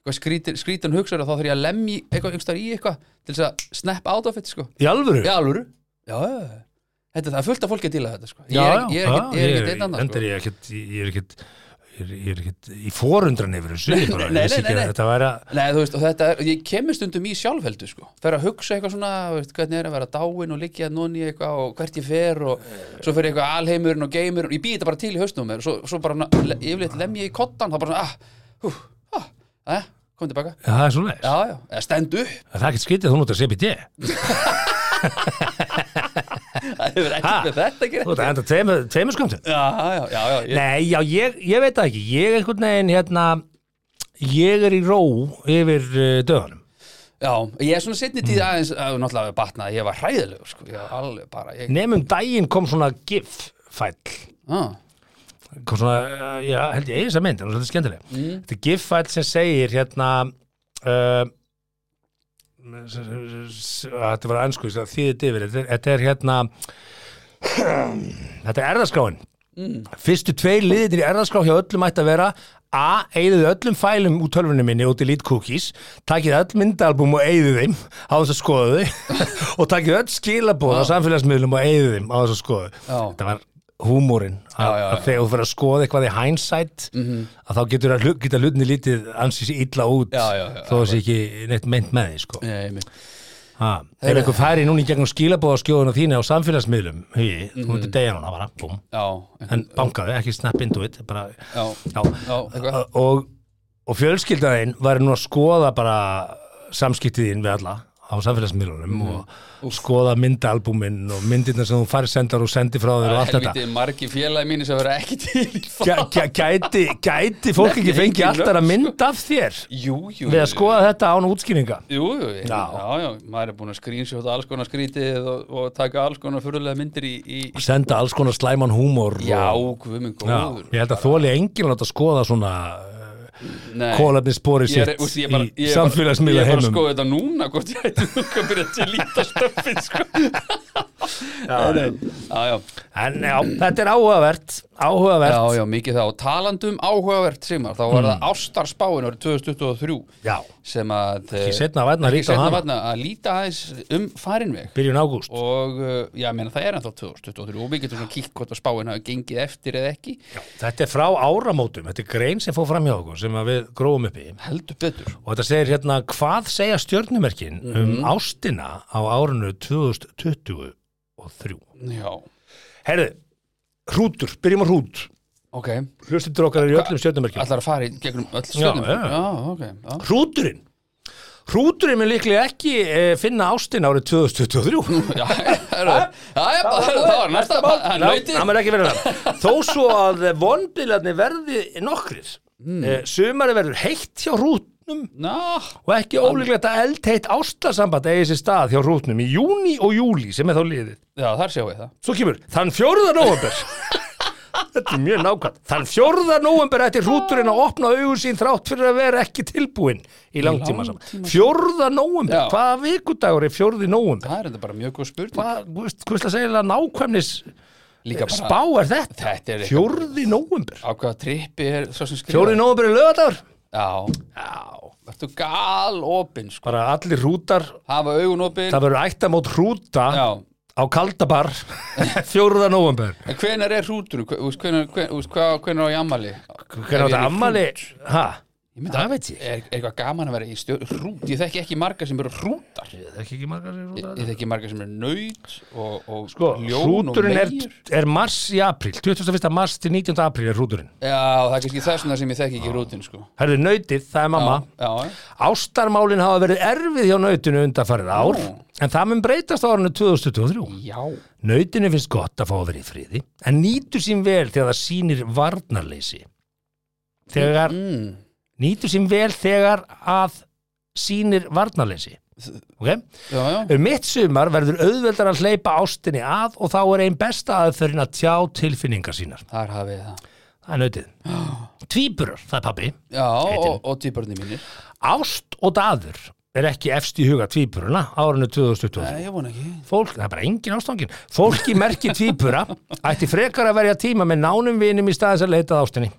eitthvað skrítin, skrítin hugsaður og þá þarf ég að lemji eitthvað, eitthvað í eitthvað til þess að snap out of it, sko
Í alvöru?
Já, alvöru Já, já, já. þetta það er fullt af fólki að díla við þetta, sko Ég
Já,
er, ég er
já,
ekkit, ég er
ég-
ekkit einn annan,
enda
sko
er ég ekkit, ég er ekkit ég er- ég er ekkit í forundran yfir þessu ég bara,
nei,
ég vissi
nei,
ekki að
nei, nei.
þetta væri að
Nei, þú veist, og þetta er, ég kemur stundum í sjálfheldu, sko. Fer að hugsa eitthvað svona, þú veist, hvernig er að vera dáin og liggja núni eitthvað og hvert ég fer og svo fer ég eitthvað alheimurinn og geimurinn og ég býð þetta bara til í hausnum á mér og svo, svo bara, na- le- yfirleitt lem ég í kottan, þá bara svona, ah, hú, ah, eh, kom tilbaka.
Já, það er svona leis,
Já, já, eða stend upp, *laughs*
það er ekkit skytið þú notar CBD
það hefur
Ha?
ekkert með þetta
þú
ekki.
notar enda tveimur tveimur skömmtum
Já, já, já, já, ég,
Nei, já, ég, ég veit það ekki ég er einhvern veginn, hérna ég er í ró yfir uh, döðanum
já, ég er svona setni tíð aðeins, að, náttúrulega batnaði, ég var hræðilegur, sko, ég var alveg bara, ég,
nefnum daginn kom svona gif fæll
ah,
kom svona, eh, já, held ég eigi þessa mynd, hún er svolítið skemmtileg. Þetta er giffæll sem segir hérna, uh, s- s- s- að þetta var ennsku, það þýðið yfir, þetta er- þetta er hérna, *clears throat* þetta er erðaskráin. Fyrstu tveir liðir í erðaskrá hjá öllum ætti að vera A. Eyðið öllum fælum úr tölvunni minni út í Lead Cookies, takið öll myndalbum og eyðið þeim á þess að skoðu þau *laughs* og takið öll skilabóð á samfélagsmiðlum og eyðið þeim á þess að skoðu.
Já.
Þetta var húmórin að
já, Mhm. já.
að þegar þú fyrir að skoða eitthvað í hindsight að þá getur að hlut, geta hlutinni lítið ansið sér illa út
Já, já, já,
þó að sé ekki neitt meint með því sko.
ég, ég,
ha, ef einhver færi núna í gegnum skilabóðaskjóðuna þína á samfélagsmiðlum hugi, þú
Mhm.
myndir deyja núna bara búm,
já,
en bankaði, ekki snap into it bara,
já,
já,
já, eitthvað,
og, og fjölskyldaðin var nú að skoða bara samskiptiðin við alla á samfélagsmiðlunum
Mhm.
og skoða myndaalbumin og myndirna sem þú farið sendar og sendi frá þér og allt þetta
helviti margi félagi mínu sem vera ekki til í
Gæ- gæ- gæti, gæti fólk ekki
Nefnir
fengið
engin
alltaf að
nöfn,
mynda af þér
Jú, jú,
sko. við að
jú.
skoða þetta án útskýringa
Jú, jú, já.
Já.
já, já, maður er búin að skrýnsjóta alls konar skrítið og, og taka alls konar fyrirlega myndir í, í
senda alls konar slæman húmor
Já,
og,
guð minn
já
góður
ég held að þóli enginn að láta skoða svona
Nei.
kólefni spori
Ég er,
sitt
úst, ég er bara,
í
ég er bara-
samfélagsmiðla
Ég er bara að
heimum
skoða þetta núna, hvort ég ætti nokkuð að byrja til líta stöfið, sko já, já,
En já, þetta er áhugavert Áhugavert
já, já, mikið það og talandum áhugavert Sigmar, þá var það ástarspáin árið 2023
Hmm. Já.
sem að eh,
Ekki seinna vænna að líta á
seinna
hana.
vænna að líta aðeins um farinveg
Byrjun ágúst
og uh, já, ég meina það er ennþá 2023 og við getum svona kíkt hvort að spáin hafi gengið eftir eða ekki
Þetta er frá áramótum, þetta er grein sem fór fram hjá okkur sem að við gróum upp í
heldur betur
og þetta segir hérna hvað segja stjörnumerkin
Mhm.
um ástina á árinu 2023
já,
Herðu, hrútur, byrjum á hrút
ok,
hlustundur okkar er í öllum stjörnumerkin
allar að fara í gegnum öll stöðum
já.
ok, já *laughs*
Hrúturinn Hrúturinn mun líklega ekki eh, finna ástina árið 2023
Já, herru, já, já, það var næsta mál *laughs* Hann
Ná,
lauti
það mun ekki verið það Þó svo að vonbilarnir verði nokkrir mm. Sumari verður heitt hjá hrútnum
Ná,
og ekki ólíklegt að eldteitt ástarsamband eigi sér stað hjá hrútnum í júni og júli sem er þá liðið.
já, þar sjáum við það
Svo kemur, þann fjóruða
*laughs*
nóvember. Þetta er mjög nákvæmt. Þann fjóruða nóvember ætti hrúturinn að opna augun sín þrátt fyrir að vera ekki tilbúinn í langtíma saman. Fjóruða nóvember,
Já.
hvaða vikudagur er fjóruði nóvember?
Það er þetta bara mjög góð spurning
Hvað, þú veist, hvað er það að segja nákvæmnis
Líka bara
spá er þetta?
Þetta er eitthvað
Fjórði nóvember.
Á hvaða trippi er svo sem skrifa
Fjórði nóvember er lögadagur.
Já,
Já,
verður gal opinn sko.
bara allir hrútar,
Hafa augun opinn
það verður ættamót hrúta.
Já
á
*laughs*
Kaldabar 4. november
En hvenær er hrútur? Hvenær, hvenær, úst, hvað- hvenær á ég ammali?
hvernig á
Ef ég
þetta
er í
ammali
hrút?
ha,
Ég myndi
það
að-
veit ég
Er er eitthvað gaman að vera í stjórn hrút? Ég þekki ekki marga sem eru hrútar
Ég þekki ekki margar sem
Ég
hrútar.
ég þekki marga sem eru nöyt og, og
sko,
ljón og
hrúturinn er,
meir
er mars í april 21. mars til 19. april er hrúturinn
Já, það er kannski þess vegna sem ég þekki ekki hrútin sko.
herðu nautið, það er mamma
Já, já,
ástarmálin hafa verið erfið hjá nautinu undanfarið ár
Nú.
en það mun breytast á árinu 2023
já
nautinu finnst gott að fá að vera í friði en nýtur sín vel þegar það sýnir varnarleysi þegar
mm.
nýtur sín vel þegar að sýnir varnarleysi ok?
Já, já,
Um mitt sumar verður auðveldar að hleypa ástinni að og þá er einn besta aðferðin að tjá tilfinningar sínar.
þar hafið þið það
Það er nautið. Tvíburar, það er pappi.
Já, og, og típarni mínir
Ást og daður er ekki efst í huga tvíburuna árinu 2020.
Nei, ég vona ekki
Fólk, það er bara engin ástangin. Fólki merki tvíbura ætti frekar að verja tíma með nánum vinum í staðis að leita að ástinni.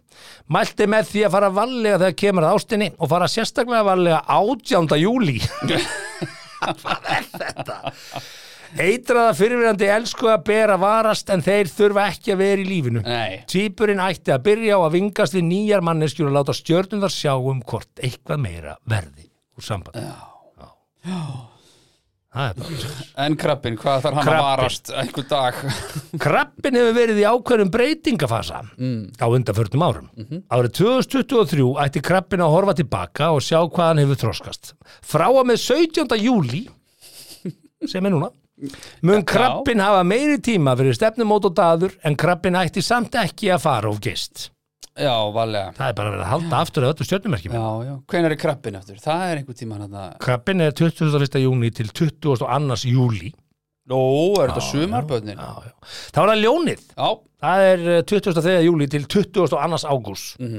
Mælti með því að fara varlega þegar kemur að ástinni og fara sérstaklega varlega 18. júli. *laughs* Hvað er þetta? Eitraða fyrirverandi elsku að bera varast en þeir þurfa ekki að vera í lífinu.
Nei,
Tvíburinn ætti að byrja á að vingast við nýjar manneskjur og láta stjörnum þar sjá um hvort eitthvað meira verði úr sambandi. Já. Það er bara...
en krabbin, hvað þarf hann að
Krabbinn.
varast einhver dag *laughs*
Krabbin hefur verið í ákveðnum breytingafasa á undanförnum árum. Árið 2023 ætti krabbin að horfa tilbaka og sjá hvað hann hefur þroskast. Frá að með 17. júli, sem er núna, mun krabbin hafa meiri tíma fyrir stefnumót og daður en krabbin ætti samt ekki að fara of gist.
Já, valega
Það er bara verið að halda aftur að öllu stjörnumerkjum.
Já, já, hvenær er krabbin eftir? Það er einhver tíma hann að
Krabbin er 21. júni til 22. júli.
Nó, er þetta sumarböðnin?
Já, já. Það var það ljónið.
Já,
Það er eh, 23. júli til 22. ágúst.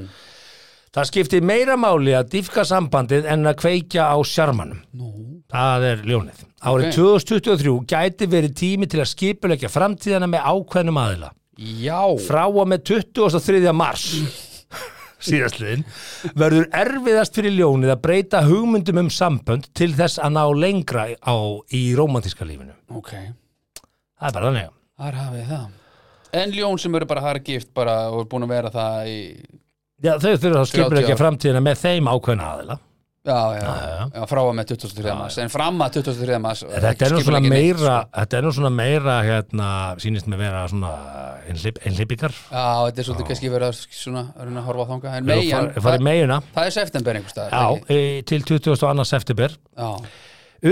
Það skiptir meira máli að dýfka sambandið en að kveikja á sjarmanum.
nú
Það er ljónið. Árið
Ok.
2023 gæti verið tími til að skipulegja framtíðana með ákveðnum aðila.
Já,
Frá og með 23. mars síðastliðin verður erfiðast fyrir ljónið að breyta hugmyndum um sambönd til þess að ná lengra á, í romantíska lífinu.
ok,
Það er bara þannig.
þar hafið það En ljón sem eru bara hargift bara og er búin að vera það í
Já, þau þurfa að
30
skipulegja
ár.
framtíðina með þeim ákveðna aðila.
Já, já, já, frá að með 23. mass En fram að 23. mass
Þetta er nú
skipulegg
svona
ekki neitt, sko.
meira, þetta er nú svona meira, hérna, sýnist með vera svona einhlip- einhleypingar.
Já, þetta er svolítið kannski verið að svona að reyna að horfa á þanga En
Meina.
megin,
Farið
það,
meina,
það er september einhvers staðar,
já,
ekki?
e, til 22. september.
já,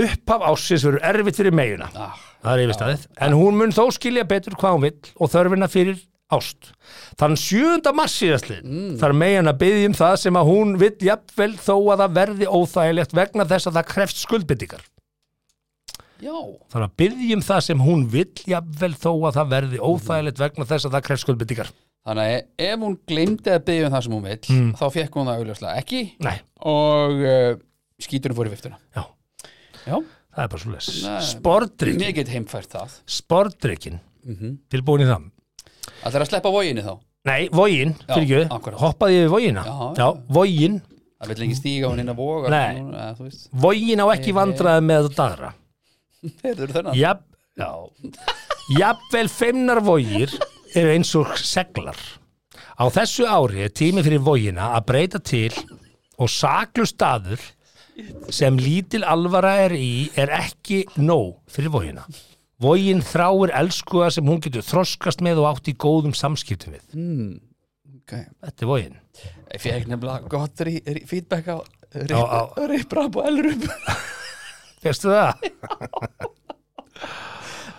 Upphaf ásins verður erfitt fyrir meina.
ah,
Það er yfirstaðið. En hún mun þó skilja betur hvað hún vill og þörfina fyrir ást. Þann 7. mars síðastlið
Mm.
þarf megin að byggja um það sem að hún vill jafnvel þó að það verði óþægilegt vegna þess að það krefst skuldbyttingar.
já,
Þarf að byggja um það sem hún vill jafnvel þó að það
Mm.
verði óþægilegt vegna þess að það krefst skuldbyttingar.
þannig að e- ef hún gleymdi að byggja um það sem hún vill
Hmm.
þá fekk hún það augljóslega ekki
Nei,
og uh, skíturinn fór í viftuna
já.
Já,
það er bara svo les
Nei.
Spordrykkin,
Mér get heimfært það
spordrykkin
Mhm.
tilbúin í það
Það er að sleppa vóginni þá
Nei, vógin,
Já,
fyrir ekki,
akkurat.
hoppaði ég yfir vógina
Já, já.
Já, vógin,
Það vil lengi stíga hún inn að voga
Nei.
svona, eða, Þú veist,
vógin á ekki vandraði með að dagra
þeir eru þennan
Jafn, já Jafnvel feimnar vógir eru eins og seglar Á þessu ári er tími fyrir vógina að breyta til og saklu staður sem lítil alvara er í er ekki nóg fyrir vógina Vógin þráir elskuða sem hún getur þroskast með og átt í góðum samskiptum við
okay.
Þetta er vógin
Ég fekk nefnilega gott rí, rí, feedback á
Á,
Riprap og Elrup
Fyrstu það?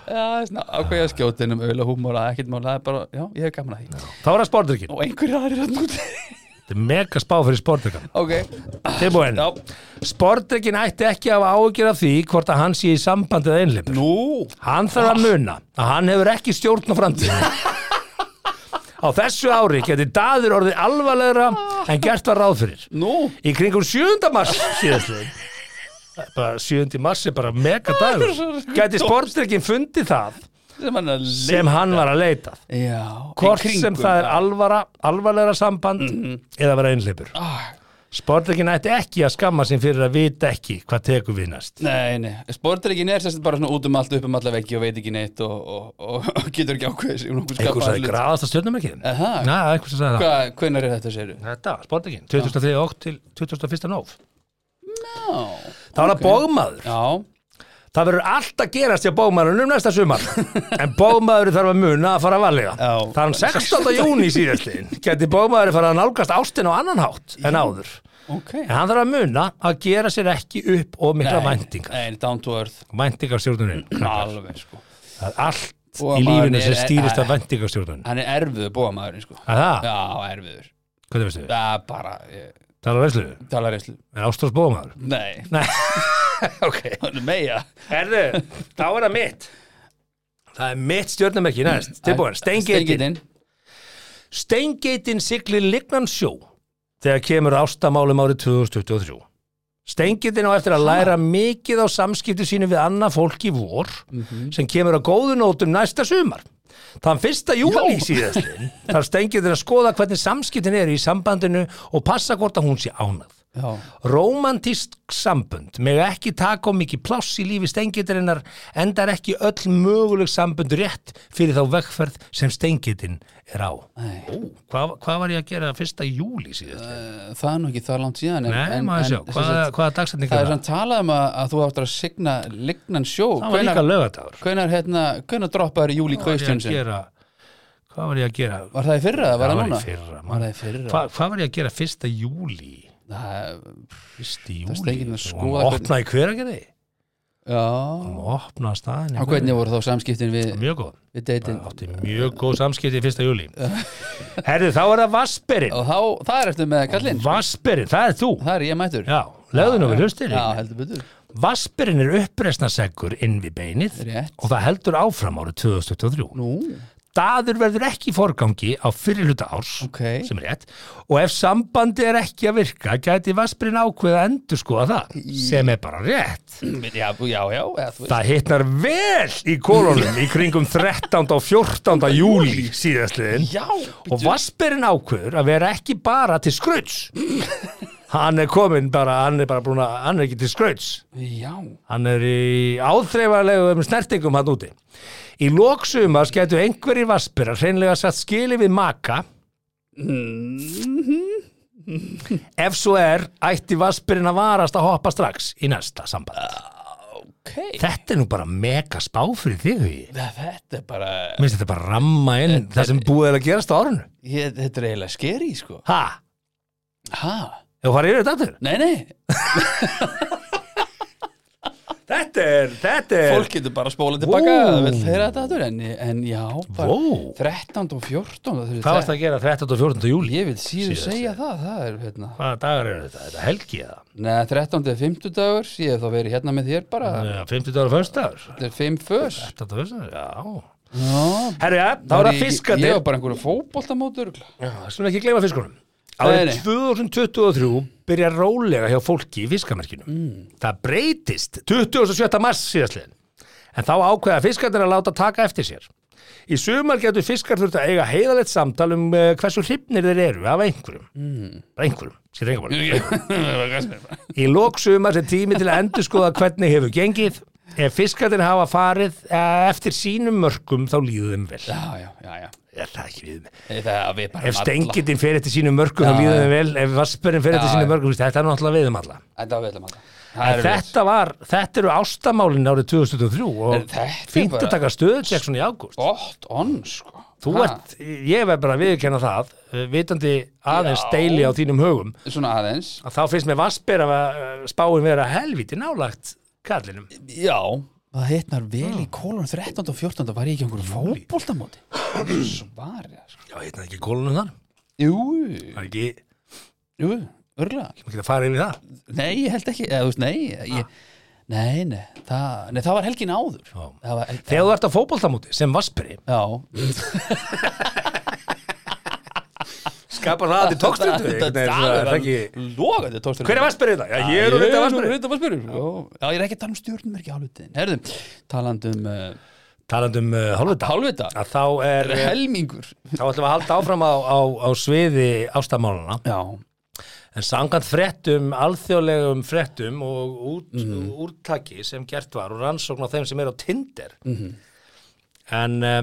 Já, svona ákveðja skjótin um öl og húmor að ekkert mála, það er bara, já, ég hef gaman að því
Þá er það sportrykkin
Og einhverju aðrir að núti
Þetta er mega spá fyrir sportrykkan
Ok,
Tilbúin
já
Sportrykkin ætti ekki að hafa áhyggjur af því hvort að hann sé í sambandið eða einhleipur
Nú,
Hann þarf að muna að hann hefur ekki stjórn á framtíðinu. á þessu ári geti daður orðið alvarlegra en gert var ráð fyrir.
nú
Í kringum 7. mars síðastlegin. Bara 7. mars er bara mega dagur. Geti sportstrekkin fundið það
Sem hann að leita
sem hann var að leitað.
Já,
Hvort sem það Mhm. er alvara, alvarlegra samband eða vera einhleipur.
ah,
Sportstrekkin ætti ekki að skamma sín fyrir að vita ekki hvað tekur við næst.
Nei, nei, sportreikin er sérst bara svona út um allt, upp um alla veggi og veit ekki neitt og, og, og, og getur ekki um ákveðis
Einhver sagði graðast að stjórnumarkiðin.
Aha.
Næ, einhver sagði það.
Hvenær er þetta, segirðu?
Þetta, sportingin, 23. ótt til 21. nóf
Já,
Það var að bógmaður
já,
Það verður alltaf gerast hjá bógmaðurinn um næsta
*laughs*
sumar En bógmaður þarf að muna að fara að valega
Já.
Þann 16. júni síðastin Geti bógmaður fara að nálgast ástin á annan hátt en áður
ok
En hann þarf að muna að gera sér ekki upp og mikla væntingar
Nei, nei, down to earth, *clears throat*
Væntingarstjórnunin
alveg sko
Það er allt
Og
í
maður
lífinu
er-
sem stýrist af
eh,
væntingarstjórnunin
Hann er erfiður bóðamaðurinn sko
Það,
Já, erfiður
hvað veistu um við?
Það er bara, ég
Það er veislu,
tala reynslu
en ástofs bógmaður
Nei, *laughs*
Nei, ok
hann er meia
Herðu, þá er það mitt Það er mitt stjórnumerki næst Tilbúin, steingeitin
Steingeitin
Steingeitin siglir lignan sjó Þegar kemur að ástamálum árið 2023 Steingeitin á eftir að læra mikið á samskipti sínu við annað fólk í vor sem kemur að góðu nótum næsta sumar Þann fyrsta júli síðastlinn þarf steingeitin að skoða hvernig samskiptin eru í sambandinu og passa hvort að hún sé ánað
Já,
Rómantísk sambund með ekki taka á mikið pláss í lífi steingitarinnar endar ekki öll möguleg sambund rétt fyrir þá vegferð sem steingitin er á.
Nei.
Ó, hvað, hvað var ég að gera fyrsta júli síðast?
eh, það er nú ekki það langt síðan en-
Nei,
en-
maður
en
sjá,
sem
hvað,
sagt,
hvaða dagsetning
Það
er
er
það?
svona talað um að, að þú áttur að signa lignan sjó
Það var líka lögadagur.
Hvenar, hérna, hvenar droppaður Júli
Hvað var ég að
Kvaustjónsson?
gera? Hvað var ég að gera?
Var það í fyrra? Var
Það
það
var í
núna?
fyrra, maður.
Var það í fyrra?
Hva, hvað var ég að gera fyrsta júli?
Það,
Fyrsti
Það er
júli?
Steingirinn að
Hún
skoða hvernig-
opnaði hver að gera þið?
já
Hún opnaði staðin.
Og hvernig voru þá samskiptin við,
Mjög góð.
við deytin?
átti mjög góð samskipti í fyrsta júli Herðu, þá er það Vassberinn
Og þá, það er eftir með kallinn
Vassberinn, það er þú
Það er ég mættur
Já, lögðu nú við hlustir
Já, heldur betur
Vassberinn er uppreisnarseggur inn við beinið
Rétt.
og það heldur áfram árið 2023
Nú,
Daður verður ekki í forgangi á fyrir hluta árs
Ok.
sem er rétt og ef sambandi er ekki að virka gæti Vassberinn ákveða að endurskoða það sem er bara rétt
já, já, já, eða þú veist
Það hittnar vel í kolonum í kringum 13. og 14. júli síðastliðin
Já,
og Vassberinn ákveður að vera ekki bara til skrauts hann er kominn bara, hann er bara búin að hann er ekki til skrauts
já
hann er í áþreifarlegum snertingum hann úti í loksumar skætu einhverjir Vassberinn hreinlega satt skili við maka ef svo er ætti Vassberinn að varast að hoppa strax í næsta samband
Ok
þetta er nú bara mega spá fyrir þig hugi
Það- Þetta er bara
minnst þetta bara ramma inn það sem búið er að gerast á árunnu
ég, Þetta er eiginlega skeri, sko
ha,
Ha?
ef þú farið yfir þetta aftur
Nei, nei
Þetta er, þetta er
Fólk getur bara að spóla tilbaka
Vó.
Það vil þeirra þetta aður en, en já, bara
Vó.
13. og 14. þú veist,
Hvað varst það að gera 13. og 14. júli?
Ég vil síður
Síðast.
segja það, það er hérna
Hvaða dagar eru þetta? Er Þetta helgi eða?
Nei, 13. og 15. dagur, ég hef þá verið hérna með þér bara
Ja, 50 dagar og föstudagar?
Þetta er 5 fös
15 og föstudagar, já
Já,
Herri, ja, þá er það
Ég
fiskandi *laughs*
var bara einhverju fótboltamótur
Já, Það skulum ekki gleyma fiskunum Árið
Nei, nei.
2023 byrja rólega hjá fólki í fiskamerkinu.
Mm.
Það breytist 27. mars síðastliðin. En þá ákveða fiskarnir að láta taka eftir sér. Í sumar getur fiskar þurft að eiga heiðalegt samtal um eh, hversu hrifnir þeir eru af einhverjum. Mm. Einhverjum, skilur einhverjum. Í lóksumar er tími til að endurskoða hvernig hefur gengið. Ef fiskarnir hafa farið eh, eftir sínum mörkum þá líður þeim vel.
Já, já, já, já
Er það ekki við mig?
Það við bara um
Ef stengitin fer eftir sínum mörkum þá
Já,
líður
já.
þeim vel. Ef vasperinn fer eftir
Já,
sínum
já.
mörkum, þú veist, þetta er náttúrulega við um alla.
Þetta við ætlum alla Það
En
er við
Þetta var, þetta eru ástamálin árið 2023
En
og
þetta er
fínt að
bara-
taka stöðu Jackson í ágúst.
Gott onn, sko
Þú
Ha,
ert, ég verð bara að viðurkenna það, eh, vitandi aðeins
Já.
deili á þínum högum,
Svona aðeins
að þá finnst mér vassbera að eh, spáin vera helviti nálægt kallinum.
Já Það heitnar vel í kólunum 13. og 14. var ég ekki einhverjum fótboltamóti Svarja, sko
Já, hérna ekki kólunum þar.
Jú,
Það er ekki,
jú, örgulega
maður geta að fara yfir það.
Nei, ég held ekki, eða þú veist, nei ég, Nei, nei, það, nei, það var helgin áður
Já.
Það var helgin
Þegar þú ert á fótboltamóti sem vassberi,
Já,
skapar það til tókstundu.
þetta er alveg logandi tókstundu
Hver er vassberið þetta? Já, ég er úr þetta vassberið.
þetta var spyrur um- Já, ég er ekki að tala um stjórnmerki hálfvitaðin Herðum, talandi um uh,
Talandum uh, hálfvita,
hálfvita
að þá er, eh,
Helmingur
þá ætlum við að halda áfram á, á, á sviði ástamálana.
Já,
En samkvæmt fréttum, alþjóðlegum fréttum og út, úrtaki sem gert var og rannsókn á þeim sem er á Tinder en eh,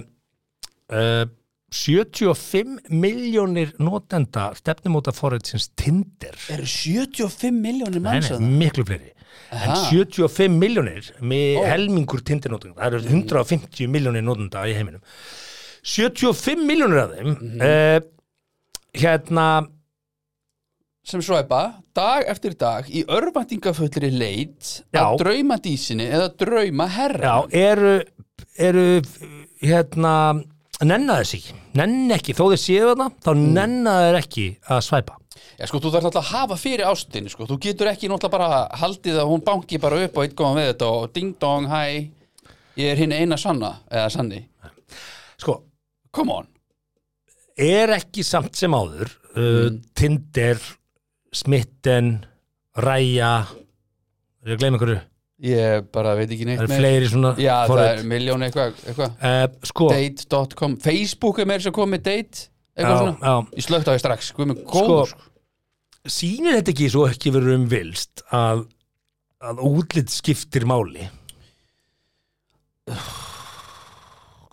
uh, uh, 75 miljónir notenda stefnumóta forritsins Tinder
eru 75 miljónir
Nei,
manns
nei,
að það
miklu fleiri en
Aha.
75 miljónir með helmingur Tinder notenda það eru 150 miljónir notenda í heiminum 75 miljónir af þeim
Mhm.
mm hérna
sem svæpa dag eftir dag í örvæntingafullri leit
Já.
að drauma dísinni eða drauma herra
Já, eru, eru hérna, nenna þess ekki nenn ekki, þó þið séu þarna þá
Mm.
nenna þeir ekki að svæpa
Já, sko, þú þarf alltaf að hafa fyrir ástinni, sko. Þú getur ekki náttúrulega bara haldið að hún banki bara upp á eitt góðan við þetta og ding dong, hæ, ég er hinn eina sanna, eða sanni.
Sko,
Come on.
er ekki samt sem áður uh,
Mm.
Tinder, Smitten Ræja er ég að gleyma einhverju,
Ég bara veit ekki neitt
það eru fleiri svona
Já, það
forrit.
er miljón eitthvað, eitthvað.
uh, Sko,
Date.com, Facebook er meir sem komið date, eitthvað
já,
svona.
já,
Ég slögt á því strax, sko, með góður,
Sko,
sko.
sýnir þetta ekki svo ekki verið um vilst að, að útlit skiptir máli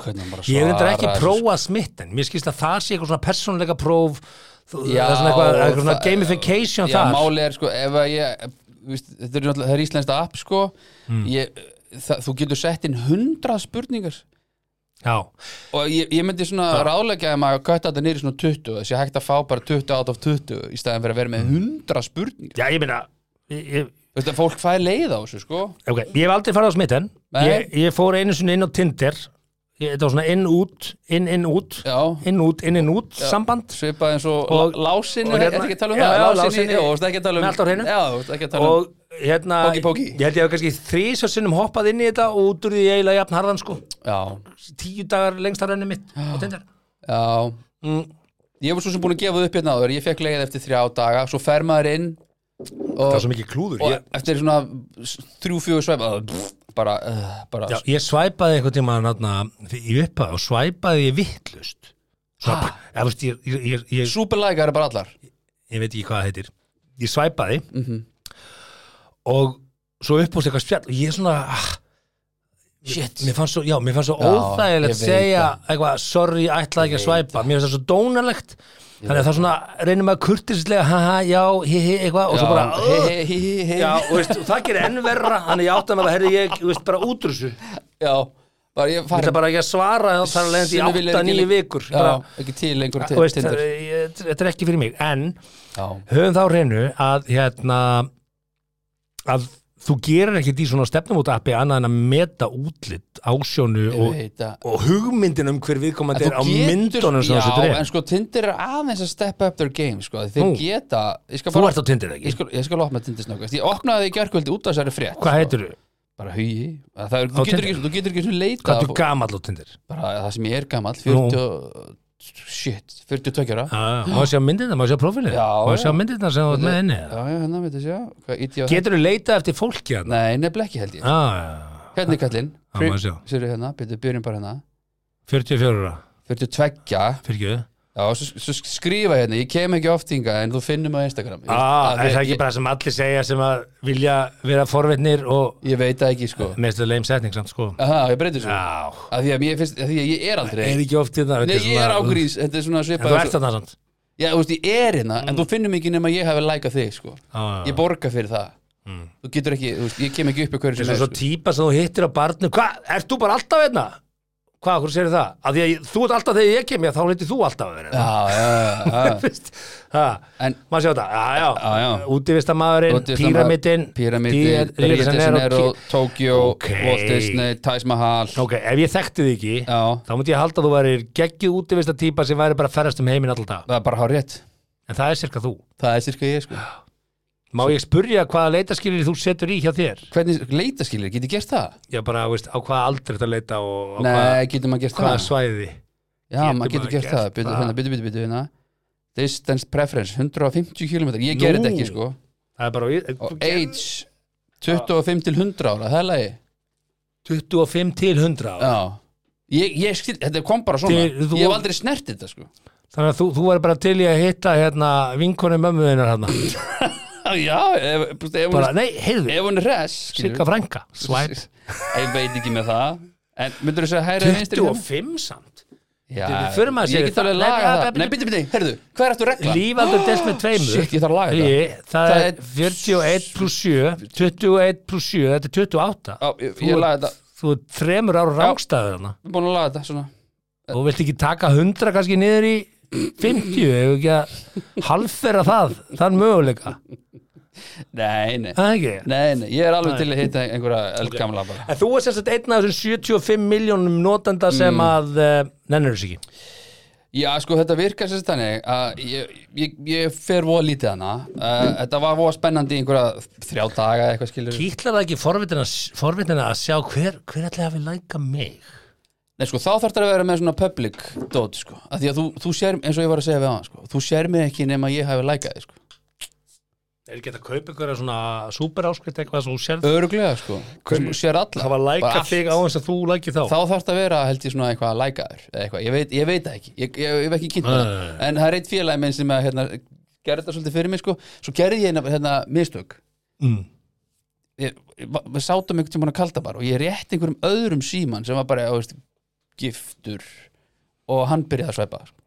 Hvernig hann bara
Ég er þetta
svarar
ekki
þessu, sko.
prófa smitten Mér skilst að það sé eitthvað svona persónleika próf þú-
Já,
Það er svona eitthvað, eitthvað svona
það-
gamification
Já,
þar
máli er sko, ef að ég viðst, þetta er náttúrulega, það er íslenska app sko
Hmm.
ég, það, þú getur sett inn hundrað spurningar
Já,
og ég, ég myndi svona ráðleggja að maður kvæta þetta niður í svona 20 þess að ég hægt að fá bara 20 out of 20 í staðan fyrir að vera með 100 spurningar
já ég meina ég, ég,
Veist að fólk fær leið á þessu sko
ok, ég hef aldrei farið á smitten
Nei.
ég, ég fór einu sinni inn á Tinder ég, Þetta var svona inn út, inn, inn út
Já,
Inn út, inn, inn út, samband
svipað eins og,
Og-
og lásinni,
og hérna-
er þetta ekki að tala um
Já,
það?
já,
lásinni,
lásinni-
já, þú veist ekki að tala um
Með allt á hreinu.
Já, þú veist ekki að tala um
Og hérna,
Póki, póki.
ég held ég hef kannski þrísar sinnum hoppað inn í þetta og út úr því eiginlega jafn harðan sko
Já,
Tíu dagar lengst að renni mitt á Tinder
já
mm.
Ég var svo sem búin að gefa það upp hérna áður Ég fekk leið eftir þrjá daga Svo fer maður inn
Það
Og,
er svo mikið klúður
og
ég,
eftir svona s- þrjú, fjögur svæf Bara, uh, bara
Já, ég svæpaði einhvern tíma natna, í upphaf og svæpaði ég vittlust
Ha?
ég, veist, ég, ég, ég, ég,
Súperlækar er bara allar
ég veit ekki hvað það heitir ég svæpaði og svo upphúst eitthvað spjall og ég er svona ah,
Shit
mér fannst svo, já, mér fannst svo
Já,
óþægilegt
ég veit
segja eitthvað, sorry, ég ætlaði ekki að svæpa mér finnst það svo dónalegt þannig að það svona reynir maður kurtislega haha, já, hi, hi, eitthvað og svo bara
hei,
"Ugh."
hei, hei, hei
Já, og veist, og það gerir enn verra þannig ég átti að með það, herri, ég þú veist, bara útrússu
Já, bara ég
Ég
fari
ætla bara ekki að svara þá þarf að leiðandi
Sinni
í 8-9
vil ég ekki lengi-
vikur
Já,
bara,
ekki til lengur
og veist, það,
tindur
ég, þetta er ekki fyrir mig en
Já,
höfum þá á hreinu að hérna að þú gerir ekkert í svona stefnumóta appi annað en að meta útlit ásjónu
ég
og,
veit að
og hugmyndin um hver viðkomandi er á myndunum sem
já,
þessu
en
dreif
sko Tinder er aðeins að steppa up their game sko. þeir
Nú.
geta ég skal,
Þú
bara,
ert á Tinder
ég
ekki?
skal, ég skal opna Tinder snöggast ég opnaði í gerkvöldi út af þessari frétt
Hvað heitir þú?
bara hugi Að það er, þú,
Á
getur
Tinder?
ekki, þú getur ekki svona leita
Hvað er þú gamall á Tinder?
bara það sem ég er gamall 42 shit, 42 ára
Má sjá myndirna, má sjá prófilið
Ah. Já,
Má
já.
sjá myndirna sem þú ert með inni
Já, já, hérna veit ég sjá Hvað ít ég að
Getur þú leitað eftir fólki hérna?
Nei, nefnileg ekki held ég
Ah,
Hérna er kallinn
Já,
Pri-
maður sjá.
Sérðu hérna, byrju, byrjum bara hérna
44 ára
42 Já,
Fyrir ekki
svo, svo skrifa hérna Ég kem ekki oft hinga en þú finnum á Instagram Ég-
ah,
að
Er það
ég-
ekki bara sem allir segja sem að vilja vera forvitnir og
Ég veit það ekki, sko
mestu leim setning samt sko
Aha, ég breytir svo
Já,
Af því að mér finnst, af því að ég er aldrei
er ekki oft þetta
Nei, ég er ágríns, þetta er svona
En þú
svipað
ert þarna samt Mm.
Já, þú veist, ég er hérna, en þú finnum ekki nema ég hafi lækað þig, sko
Já, já.
Ég borga fyrir það Þú getur ekki, þú veist, ég kem ekki upp í hverju
Svo,
sem
svo
sko.
típa sem þú hittir á barnu Hvað, ert þú bara alltaf hérna? Hvað, hvernig segir það? Af því að ég- þú ert alltaf þegar ég kem, já, þá hittir þú alltaf hérna *laughs*
Já, já, já, já
Veist? Ha,
En
maður sjá þetta, já, já,
Já, já.
útivistamæðurinn, píramidin
Píramidin, Rio de Janeiro, Tokyo,
Ok.
Walt Disney, Taj Mahal
Ok, ef ég þekkti þig ekki
Já,
þá myndi ég halda að þú værir geggið útivista típa sem væri bara að ferðast um heiminn alltaf dag
það er bara hár rétt
en það er sirka þú
Það er cirka ég, sko
Má ég spurja hvaða leitaskilir þú setur í hjá þér?
Hvernig leita skilir, getur gert það?
Já, bara, veist, á hvaða aldri þetta leita og á hvaða,
Nei, getur maður gert
hvaða
það?
svæði
Já,
getur
maður
maður
getur gert
gert
það, byrju,
það?
hérna, byrju, byrju, byrju, hérna Distance preference, 150 km Ég gerir
Nú.
þetta ekki, sko
Það er bara,
Og age, 25 til 100 ára, það er lagi
25 til 100 ára
Já Ég, ég skil, þetta kom bara svona
Til- þú-
Ég hef aldrei snert þetta, sko *laughs*
Þannig að þú, þú væri bara til í að hitta hérna vinkonu mömmuðinnar hérna
Já, ef, ef, ef,
bara,
hún,
Nei, heyrðu,
ef hún er res
Sigga frænka Svæt
*laughs* Ég veit ekki með það En myndur þú segja hægri eða vinstri?
25 samt
Já,
Við förum að segja
ég get
það.
alveg
Nei,
laga
nei,
það
nei,
Nei, byrju, byrju, heyrðu, hvað er þetta regla?
Lífaldur delt með tveimur
Shit, ég þarf að laga þetta
Ég, það,
Það
er
er
41 pluss 7 21 pluss 7, þetta er 28
Já, ég,
Þú
ég
ert-
laga þetta,
Þú er þremur ára rángstæður hana
ég er búin að laga þetta svona
Þú vilt ekki taka 100 kannski niður í 50 ef ekki að halvfera það þann möguleika,
Nei, nei,
það ekki
nei, nei, ég er alveg til að hitta einhverja eldgamla bara
En þú er sem sagt einn af þessum 75 miljónum notenda sem að uh, nennir þessu ekki
Já, sko, þetta virkar sérst þannig að ég, ég, ég fer voða lítið hana uh, Þetta var voða spennandi í einhverja þrjá daga eitthvað skilur
Kýtlar það ekki forvitina, forvitina að sjá hver, hver ætli hafi læka mig
Nei, sko, þá þarf þetta að vera með svona public dot, sko að Því að þú, þú sér, eins og ég var að segja við hann, sko Þú sér mig ekki nema ég hafi lækað, þig, sko
Er ekki hægt að kaupa ykkur svona super áskrift eitthvað sem þú sér
Öruglega, sko Þú sér alla
hafa
Bara
læka
allt.
þig á eins að þú læki þá
Þá þarf þetta að vera, held ég, svona eitthvað lækaður eða Eitthvað, ég veit, ég veit það ekki Ég, ég, ég hef ekki kynnt
Nei,
það
nei, nei.
En það er eitt félagi minn sem að, hérna, gerði þetta svolítið fyrir mig, sko Svo gerði ég, hérna, mistök
mm.
ég, va- við sátum einhvern tímann að kalda bara og ég rétti einhverjum öðrum síman sem var bara, þú veist, giftur og hann byrjaði að svæpa sko.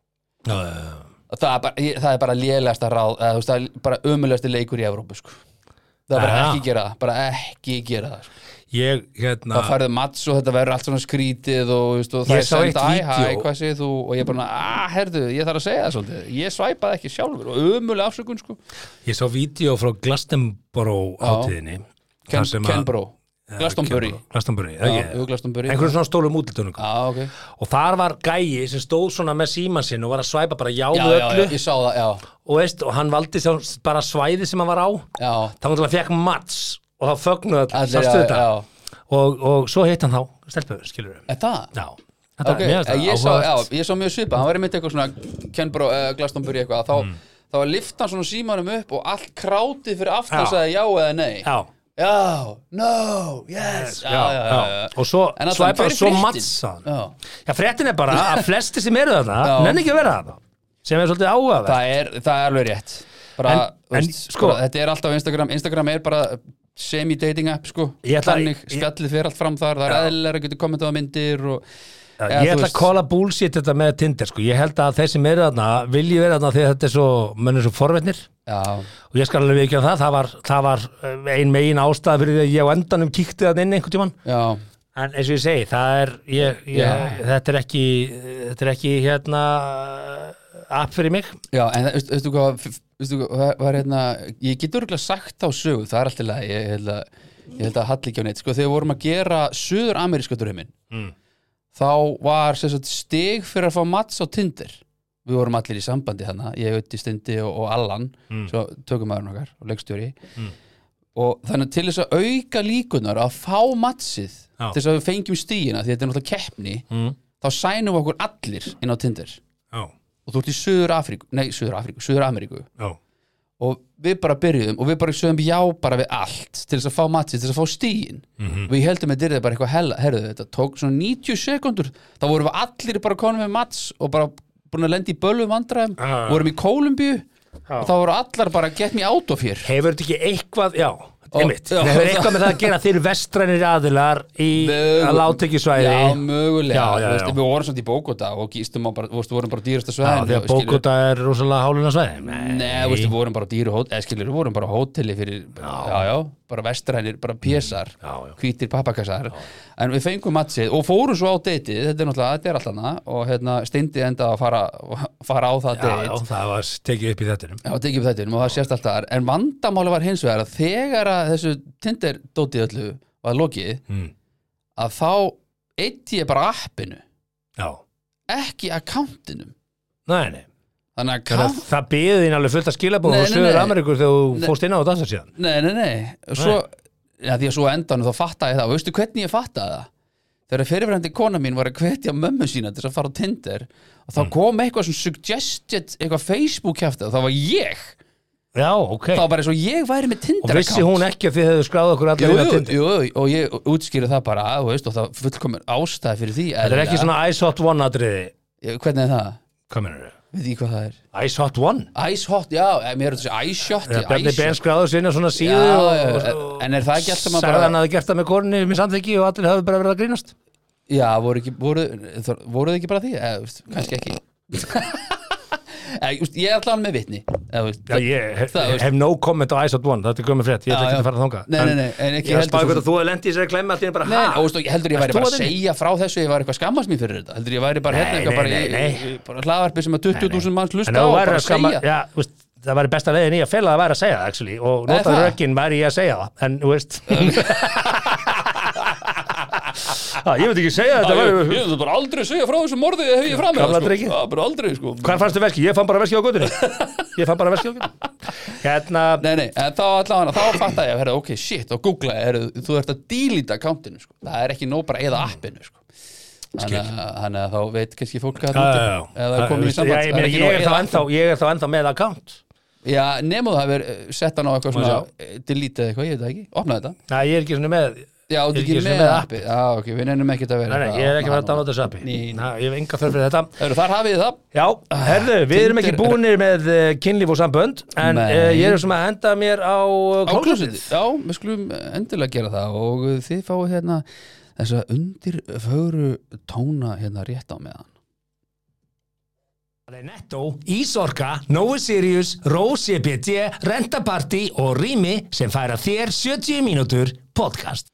Já, já, já.
Og það er bara, ég, það er bara lélegasta ráð eða, þú veist, það er bara ömulegasti leikur í Evrópu sko. það er bara
Aha.
ekki gera það bara ekki gera það sko.
Ég, hérna
það færðu mats og þetta verður allt svona skrítið og, þú veist, og það
Ég
er
sá eitt
senda æ, hæ,
vídeó.
hvað segir þú og ég er bara, að, herðu, ég þarf að segja það svolítið ég svæpaði ekki sjálfur og ömuleg afsökun sko.
Ég sá vídeo frá Glastonboro hátíðinni
Ken,
þar sem að-
Kenbro, Glastonbury
Kenbro- Glastonbury,
Já,
það
jú,
ekki
Glastonbury
einhverjum svona stólum útlítunum
Já, ok.
og þar var gæi sem stóð svona með síman sinn og var að svæpa bara já
já,
með
já, já,
öllu
ég sá það, já,
og, veist, og hann valdi sá, bara svæði sem hann var á
já.
þá hann fekk mats og það fögnuð all,
Allir,
sástu
já,
þetta
já.
Og, og svo heitt hann þá, stelpur, skilur við
Er það?
já, þetta
Ok,
er
eh,
mér þetta
ég, sá, já,
áhugavert.
ég sá mjög svipa, hann var einmitt eitthvað svona Kenbro, uh, Glastonbury eitthvað þá,
Mm.
þá lifta hann svona símanum upp og allt krátið fyrir aftan
Já.
sagði já eða nei
já,
Já, no, yes
já, já, og svo
En allan, hver
svæpa
er
svo
fréttin?
mats hann
Já.
Já, fréttin er bara
*laughs*
að flesti sem eru þarna
Já.
nenni ekki að vera þarna sem er svolítið áhugaverð
Það, er, það er alveg rétt bara,
En-
þú
en,
veist,
sko-
bara, Þetta er alltaf Instagram, Instagram er bara semi-dating app sko
Ég ætla-
Þannig
ég-
spjallið fyrir allt fram þar, það er eðlilega að geta kommentað á myndir og
Já, Ég
eða þú
ætla að
veist-
kóla bullshit þetta með Tinder sko. ég held að þeir sem eru þarna vilji vera þarna þegar þetta er svo, menn er svo forvetnir
Já,
og ég skal alveg ekki að það það var, það var eh, ein megin ástæða fyrir því að ég á endanum kíkti þarna inn einhvern tímann
já,
en eins og ég segi, það er ég, ég,
Já.
þetta er ekki þetta er ekki hérna app fyrir mig
Já, en það- veistu veistu hvað veistu hvað hvað- hvað er hérna ég get örgulega sagt þá sögu, það er alltaf leið ég, held að- ég held að halli ekki á neitt sko, þegar við vorum að gera söður-ameríska drauminn
Mm.
þá var sem sagt, stig fyrir að fá mats á Tinder við vorum allir í sambandi hana ég auðviti Stindi og, og Allan svo tökum maðurinn okkar og leikstjóri og þannig að til þess að auka líkunar að fá matsið
Já.
til þess að við fengjum stigina, því þetta er náttúrulega keppni
Mm.
þá sænum við okkur allir inn á Tinder
já,
og þú ert í Suður Afríku, nei Suður Afríku, Suður Ameríku
já,
og við bara byrjuðum og við bara sögum já bara við allt til þess að fá matið, til þess að fá stíin
Mhm.
við heldum að þetta er bara eitthvað hella herðu þetta tók svona 90 sekundur þá vorum við allir bara konum með mats og bara búin að lenda í bölvum vandræðum
Ah.
vorum í Kólumbíu
já.
og þá voru allar bara get me out of here
Hefur þetta ekki eitthvað, já einmitt,
já.
það hefur eitthvað með það að gera þeir vestrænir aðilar í
Mögul-
að láta ekki svæði
já, mögulega,
Já, já,
Þú veist,
já.
við vorum samt í Bókota og gístum á bara, þú veist, við vorum bara á dýrasta
Já,
svæðin
því að bókuta er rúsalega háluna svæði Nei,
Nei, þú veist, við vorum bara á dýru hóteli, eða skilur, við vorum bara á hóteli fyrir, já, já, bara vestrænir, bara pjessar,
Já, já.
hvítir pappakassar, en við fengum matsið og fórum svo á deitið, þetta er náttúrulega, þetta er allt annað og hérna, steindi enda að fara, fara á það
já, já,
deit,
það var tekið upp í þettinum
já, tekið upp þetta og það sést alltaf þar, en vandamáli var hins vegar að þegar að þessu tindir dótið öllu var lokið,
mm.
að þá eitti ég bara appinu,
Já,
ekki akkántinum,
nei, nei
þannig
Það,
að account-
það byði þín alveg fullt að skilabóð
Nei,
og
nei,
sögur
nei.
Ameríkur þegar
Nei.
þú fóst inn á þetta aftur síðan
Nei, nei, nei og svo, ja, því að svo á endanum þá fattaði ég það og veistu hvernig ég fattaði það þegar fyrirverandi kona mín var að hvetja mömmu sína til þess að fara á Tinder og
Mm.
þá kom eitthvað sem suggested eitthvað Facebook kæfti og þá var ég
Já, ok
þá var bara eins og ég væri með
Og
Tinder
vissi hún ekki að þið hefðu skráð okkur
Jú,
allir inn á
jú,
Tinder?
jú, og ég útskýri það bara þú veist, og það fullkomur ástæði fyrir því
Þetta er ekki
eðlilega.
svona Ice Hot One atriði
Ég- Hvernig er það?
Hvað mennur þau?
Veit ég hvað það er?
Ice Hot One?
Ice hot, já, eh, mér er þetta að segja ice shot
Þegar Bjarni
ice
Ben
shot.
skráðu sinna svona síðu
Já,
og,
já,
og, og,
en er það ekki allt saman bara-
Sagði hann að þið gert það með korni með samþyggi og allir hafði bara verið að grínast
Já, voru, ekki, voru, þor- voru þið ekki bara því? Eða, þú veist, kannski ekki Eða, þú veist, Ég er allan með vitni Eða, þú veist,
Já, ég hef,
það-
hef no comment á Ice Hot One Þetta er gömur frétt, ég ætla
Já,
ekki
já.
að fara þangað
Nei,
En
nei, nei, en ekki
Ég
heldur
er spáði
þú-
hvort að þú hefði lendið í sér að klemma allir bara
Nei,
ha?
og, veist, ég heldur ég væri
Ert þú
bara
að
að
þinni?
segja frá þessu ég var eitthvað að skammast mér fyrir þetta heldur ég væri bara
Nei,
hérna eitthvað
nei,
bara,
nei,
í-
nei.
í- bara hlaðvarpi sem að 20.000 manns
En
lusta
ef
á
þú
og
væri
bara
að skama
segja
Já, þú veist, það væri besta leiðin í að fela það væri að segja það actually, og
Nei,
notað
það.
rökin væri ég að segja það en þú veist *laughs* Já, Ah, Ég veit ekki segja þetta
Ég
væri,
hefði bara aldrei að segja frá þessu morðið þegar ég fram með
Gamla
það sko.
drikkið.
Já, bara aldrei sko
Hvað fannst þið veski? Ég fann bara veski á götunni Ég fann bara veski á götunni Hérna,
Nei, nei, en þá allan þá fatta ég að herra, ok, shit, og googla herra, þú ert að dílita accountinu, sko það er ekki nóg bara eða appinu, sko þannig að, þannig að þá veit kannski fólk að
Já, já, já.
eða komið í
Já,
samband
ég,
það
meina,
ekki
ég,
nóg
er
að eyða
þá ennþá, ég er þá ennþá með account
appinu. Já, nefnum það hefur eh, sett hann á
Má
eitthvað svona
sjá.
eh, delete eða eitthvað, ég veit það ekki, opna þetta
Nei, ég er ekki svona með
Já, þú
Ég er ekki
ert ekki
einu sinni
með
með
appi Já, ok, við nefnum ekki að
Nei,
vera
nei, ég er ekki með að downloada þessu appi
Nei, nei.
Nei, Ég hef enga þörf fyrir þetta
Heru, Þar hafið þið það
Já, herðu, við erum ekki
Tinder-
búinir með uh, kynlíf og sambönd en
Nei.
uh, ég er sem að henda mér á eh,
á klósitið
klósitið
Já, við skulum eh, endilega gera það og eh, þið fáið hérna þessa undir fögru tóna hérna rétt á meðan
Það er Netto, Ísorka, Nói Sirius, Rósi BT, Rentaparty og Rými sem færa þér 70 mínútur podcast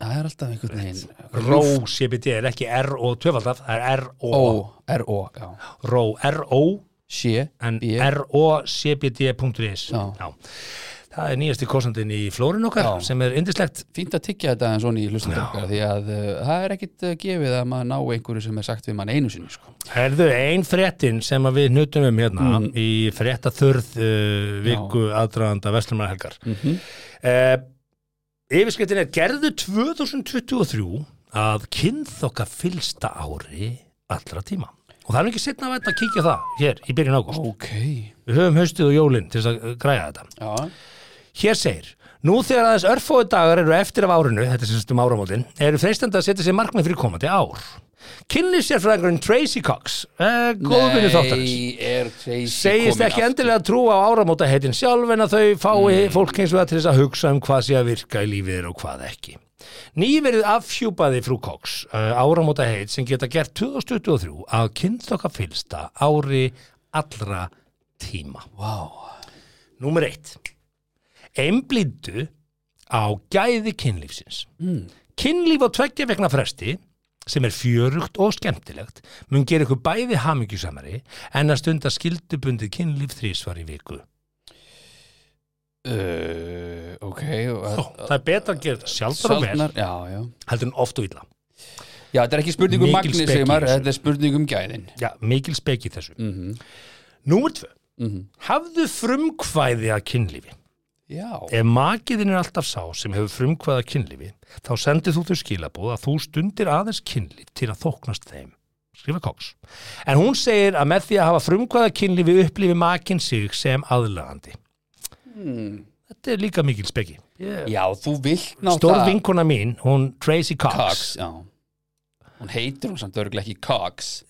Það er alltaf einhvern veginn
Rósi BT er ekki R og tvöfaldaf, það er R-O
Ó, R-O, já
Ró, R-O
Sjö,
en
B,
R-O-C-B-D.is
Já.
Já. Það er nýjasti kostandinn í flórin okkar
Já.
sem er indislegt
fínt að tyggja þetta en svona í hlustunum okkar því að uh, það er ekkit uh, gefið að maður ná einhverju sem er sagt við mann einu sinni sko.
Herðu, ein fréttin sem að við nutum um hérna í fréttaþurð uh, viku aðdraðanda Vestlumannhelgar mm -hmm. Yfirskriftin er gerðu 2023 að kynþokka fylsta ári allra tíma og það er nú ekki setna að þetta að kíkja á það hér í byrjun ágúst
Ok
Við höfum haustið og jólin til þess að uh, græja þetta
Já,
Hér segir, nú þegar aðeins örfóðu dagar eru eftir af árinu, þetta er semst um áramótin, eru freistandi að setja sér markmið fyrir komandi ár. Kynni sér fræðingurinn Tracy Cox, eh, góðvinni þáttarins.
Nei, er Tracy
Segist
komin
ekki
aftur?
endilega trúa á áramóta heitin sjálf en að þau fái fólk eins og það til þess að hugsa um hvað sé að virka í lífið þeirra og hvað ekki. Nýverið afhjúpaði frú Cox uh, áramóta heit sem geta gert 2023 að kynþokka fylsta ári allra tíma.
Vá,
Númer eitt. Einblýndu á gæði kynlífsins. Mm. Kynlíf á tveggja vegna fresti sem er fjörugt og skemmtilegt mun gera ykkur bæði hamingjusamari en að stunda skildubundið kynlíf þrísvar í viku.
uh, ok
Ó, það er betra að gera þetta sjálfar og vel
Sjaldnar, já, já
heldur en oft og illa.
Já, þetta er ekki spurning um
Mikil
magni,
speki í
segir maður,
þessu.
þetta er spurning um gæðin
Já, mikil speki í þessu.
mm -hmm.
Númer tvö. Hafðu frumkvæði að kynlífi.
Já,
Ef makiðin er alltaf sá sem hefur frumkvæða kynlífi, þá sendir þú þau skilabóð að þú stundir aðeins kynlíf til að þóknast þeim. skrifa Cox. En hún segir að með því að hafa frumkvæða kynlífi upplifi makinn sig sem aðlagandi.
Hmm.
Þetta er líka mikil speki.
Já, þú vilt náttúrulega
Stór vinkona mín, hún Tracy Cox,
Cox, já Hún heitir hún samt örgulega ekki Cox